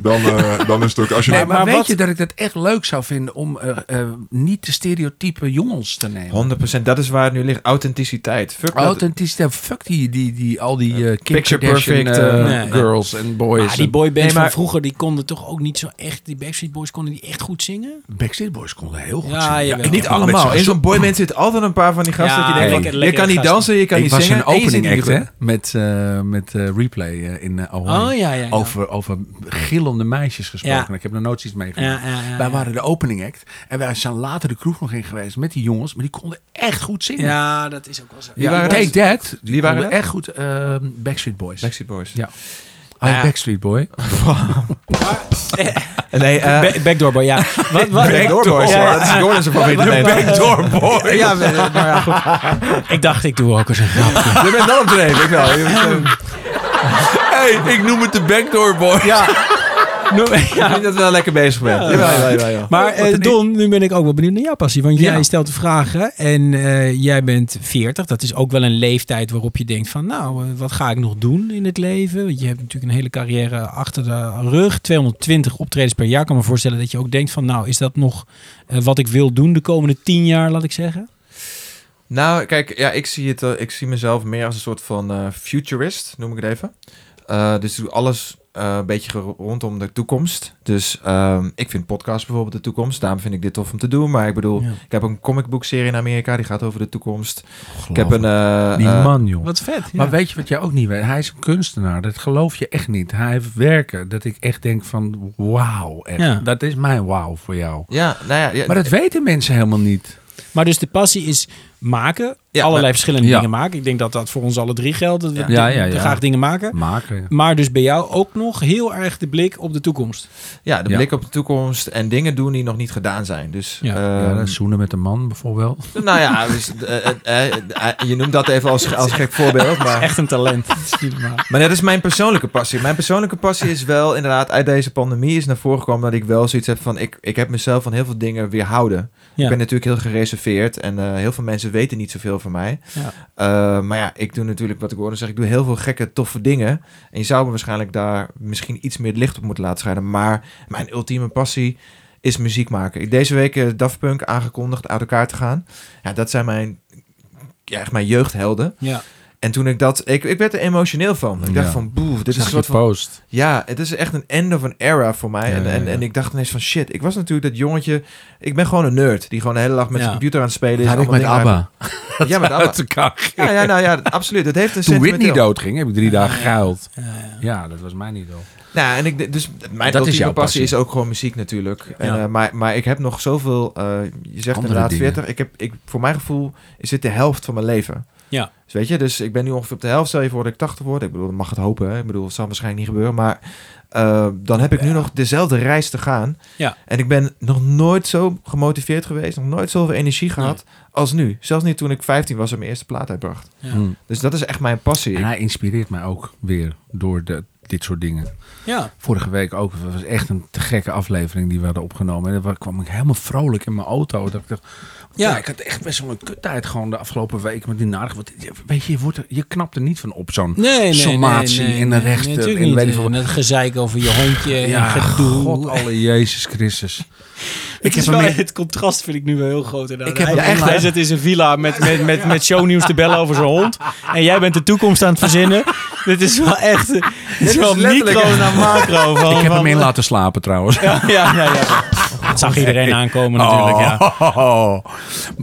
Dan, eh, dan is het ook... Als je Nee, maar, maar weet wat- je dat ik dat echt leuk zou vinden om eh, eh, niet de stereotype jongens te nemen? 100%, dat is waar het nu ligt. Authenticiteit. Fuck dat- Authenticiteit, fuck die, die, die, al die eh, Kim Picture Kardashian, perfect, eh, eh, nee. girls en boys. Maar die en- boybands Nee, maar- van vroeger, die konden toch ook niet zo echt... Die Backstreet Boys konden die echt goed zingen? Backstreet Boys konden heel goed Ja, zingen. jawel. ik Niet heb Niet wel met allemaal. zo'n- In zo'n boyband zit altijd een paar van die gasten. Ja, dat je denkt, lekker- van, je lekkere kan niet gasten. dansen, je kan Ik niet was zingen. en een je zit opening niet act, hè? goed. Met, eh, met eh, replay eh, in eh, Ahoy. Oh, ja, ja, ja. Over, over gillende meisjes gesproken. Ja. Ik heb nog nooit iets meegemaakt. Ja, ja, ja, wij ja. waren de opening act. En wij zijn later de kroeg nog in geweest met die jongens. Maar die konden echt goed zingen. Ja, dat is ook wel zo. Wie Ja, waren Take dat? That. Die, Wie waren konden dat? echt goed. eh, Backstreet Boys. Backstreet Boys. Ja. Oh, Ja. Backstreet Boy. Nee, eh, Ba- Backdoor <laughs> Boy, ja. Wat, wat, Backdoor Boys. hoor. Dat is Gordon's favoriete band. Backdoor Boys. <laughs> Ja, maar ja, goed. Ik dacht, ik doe ook eens een grap. Je bent wel op de neef, ik wel. Je bent, eh, hey, ik noem het de Backdoor Boy. Ja. <laughs> Ik vind dat we wel lekker bezig bent. Ja, ja, ja, <laughs> Maar eh, Don, nu ben ik ook wel benieuwd naar jouw passie. Want Ja. jij stelt de vragen en eh, jij bent 40. Dat is ook wel een leeftijd waarop je denkt van... nou, eh, wat ga ik nog doen in het leven? Want je hebt natuurlijk een hele carrière achter de rug. 220 optredens per jaar. Ik kan me voorstellen dat je ook denkt van... nou, is dat nog eh, wat ik wil doen de komende 10 jaar, laat ik zeggen? Nou, kijk, ja, ik, zie het, eh, ik zie mezelf meer als een soort van eh, futurist, noem ik het even. Eh, dus ik doe alles eh, een beetje gero- rondom de toekomst. Dus ehm, ik vind podcasts bijvoorbeeld de toekomst. Daarom vind ik dit tof om te doen. Maar ik bedoel, Ja. ik heb een comicboekserie in Amerika, die gaat over de toekomst. Ik heb een... eh, Die eh, man, joh. Wat vet. Maar weet je wat jij ook niet weet? Hij is een kunstenaar. Dat geloof je echt niet. Hij heeft werken dat ik echt denk van wauw. echt. Ja. Dat is mijn wauw voor jou. ja, nou ja, ja, Maar dat weten mensen helemaal niet. Maar dus de passie is maken. Ja, allerlei maar- verschillende Ja. dingen maken. Ik denk dat dat voor ons alle drie geldt. Dat we Ja. di- Ja, ja, ja. graag dingen maken. Maken. Maar dus bij jou ook nog heel erg de blik op de toekomst. ja, de Ja. blik op de toekomst en dingen doen die nog niet gedaan zijn. Dus, Ja. ehm, Ja, dat zoenen met een man bijvoorbeeld. nou ja, dus, eh, eh, eh, je noemt dat even als, als gek <laughs> voorbeeld, maar... Echt een talent. Dat is niet normaal. Maar dat is mijn persoonlijke passie. Mijn persoonlijke passie is wel inderdaad uit deze pandemie is naar voren gekomen dat ik wel zoiets heb van ik, ik heb mezelf van heel veel dingen weerhouden. Ja. Ik ben natuurlijk heel gereserveerd en eh, heel veel mensen weten niet zoveel van mij. Ja. Eh, maar ja, ik doe natuurlijk wat ik hoorde zeg, ik doe heel veel gekke, toffe dingen. En je zou me waarschijnlijk daar misschien iets meer licht op moeten laten schijnen. Maar mijn ultieme passie is muziek maken. Ik deze week eh, Daft Punk aangekondigd uit elkaar te gaan. Ja, dat zijn mijn, ja, echt mijn jeugdhelden. Ja. En toen ik dat... Ik, ik werd er emotioneel van. Ik dacht Ja. van, boe, dit Dit is een is een soort van... post. Ja, het is echt een end of an era voor mij. Ja, en, en, ja, ja. en ik dacht ineens van, shit, ik was natuurlijk dat jongetje... Ik ben gewoon een nerd die gewoon de hele dag met Ja. zijn computer aan het spelen is. Dat had ik allemaal met dingen uit- ABBA. Ja, <laughs> met ABBA. Uit elkaar ging. Ja, ja, nou ja, absoluut. Het heeft een Toen sentimenteel- Whitney doodging heb ik drie dagen gehuild. Ja, ja. Ja, dat was mijn idool. Nou, en ik, dus mijn Dat is ultieme jouw passie passie. is ook gewoon muziek natuurlijk. En, eh, maar, maar ik heb nog zoveel, eh, je zegt Andere inderdaad dingen. 40. Ik heb, ik, voor mijn gevoel is dit de helft van mijn leven. Ja. Dus weet je, dus ik ben nu ongeveer op de helft. Stel je voor dat ik 80 word. Ik bedoel, dat mag het hopen. Hè? Ik bedoel, het zal waarschijnlijk niet gebeuren. Maar eh, dan heb ik nu nog dezelfde reis te gaan. Ja. En ik ben nog nooit zo gemotiveerd geweest. Nog nooit zoveel energie gehad als nu. Zelfs niet toen ik 15 was en mijn eerste plaat uitbracht. Ja. Hm. Dus dat is echt mijn passie. En hij inspireert mij ook weer door de, dit soort dingen. ja. Vorige week ook. Het was echt een te gekke aflevering die we hadden opgenomen. En daar kwam ik helemaal vrolijk in mijn auto. Dat ik dacht, ja. Ja. ik had echt best wel een kuttijd gewoon de afgelopen week met die narig. Want je- weet je, je, wordt er, je knapt er niet van op zo'n Nee, nee, sommatie nee, nee, en nee, een rechter. nee, natuurlijk en niet. weet ik veel. En wat. het gezeik over je hondje en Ja, gedoe. god alle Jezus Christus. ik heb hem in- het contrast vind ik nu wel heel groot. inderdaad. Ik heb hij, hem echt, hij hè? zit in zijn villa met, met, met, met shownieuws te bellen over zijn hond. En jij bent de toekomst aan het verzinnen. <laughs> Dit is wel echt... Dit is wel letterlijk micro naar macro. Van, ik heb <laughs> van- hem in laten slapen trouwens. Ja, ja, ja. ja. Oh, dat zag nee. iedereen aankomen natuurlijk, ja. Oh.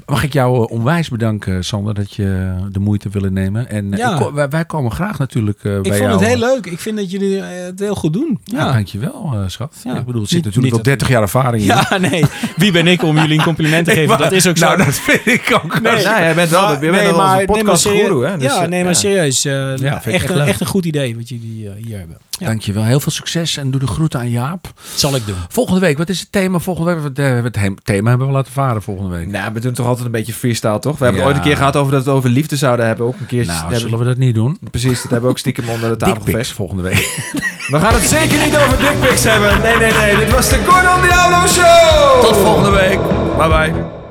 Mag ik jou eh, onwijs bedanken, Sander, dat je de moeite willen nemen. En eh, Ja. ik ko- wij, wij komen graag natuurlijk eh, Ik bij jou. vond het heel leuk. Ik vind dat jullie eh, het heel goed doen. Ja, Ja, dankjewel, eh, schat. Ja. Ik bedoel, er zit Niet- natuurlijk niet al 30 dat- jaar ervaring in. <laughs> ja nee. Wie ben ik om jullie een compliment te Nee, geven? maar- dat is ook zo. Nou, dat vind ik ook. Nou, Nee, wel. jij bent wel, je bent wel een podcast serieus- guru, hè? Dus, ja, eh, nee, maar serieus. eh, vind ik echt, echt een, leuk. echt een goed idee wat jullie eh, hier hebben. Ja, Dankjewel. Heel veel succes en doe de groeten aan Jaap. dat zal ik doen. Volgende week, wat is het thema? Volgende week, we hebben het heem- thema hebben we laten varen volgende week. Nou, we doen toch altijd een beetje freestyle, toch? We hebben Ja. ooit een keer gehad over dat we het over liefde zouden hebben. Ook een keertje. Nou, hebben- zullen we dat niet doen? Precies, dat hebben we ook stiekem onder de tafel Dickpics gevecht. volgende week. We gaan het zeker niet over dickpics hebben. Nee, nee, nee. Dit was de Gordon Diablo Show. Tot volgende week. Bye bye.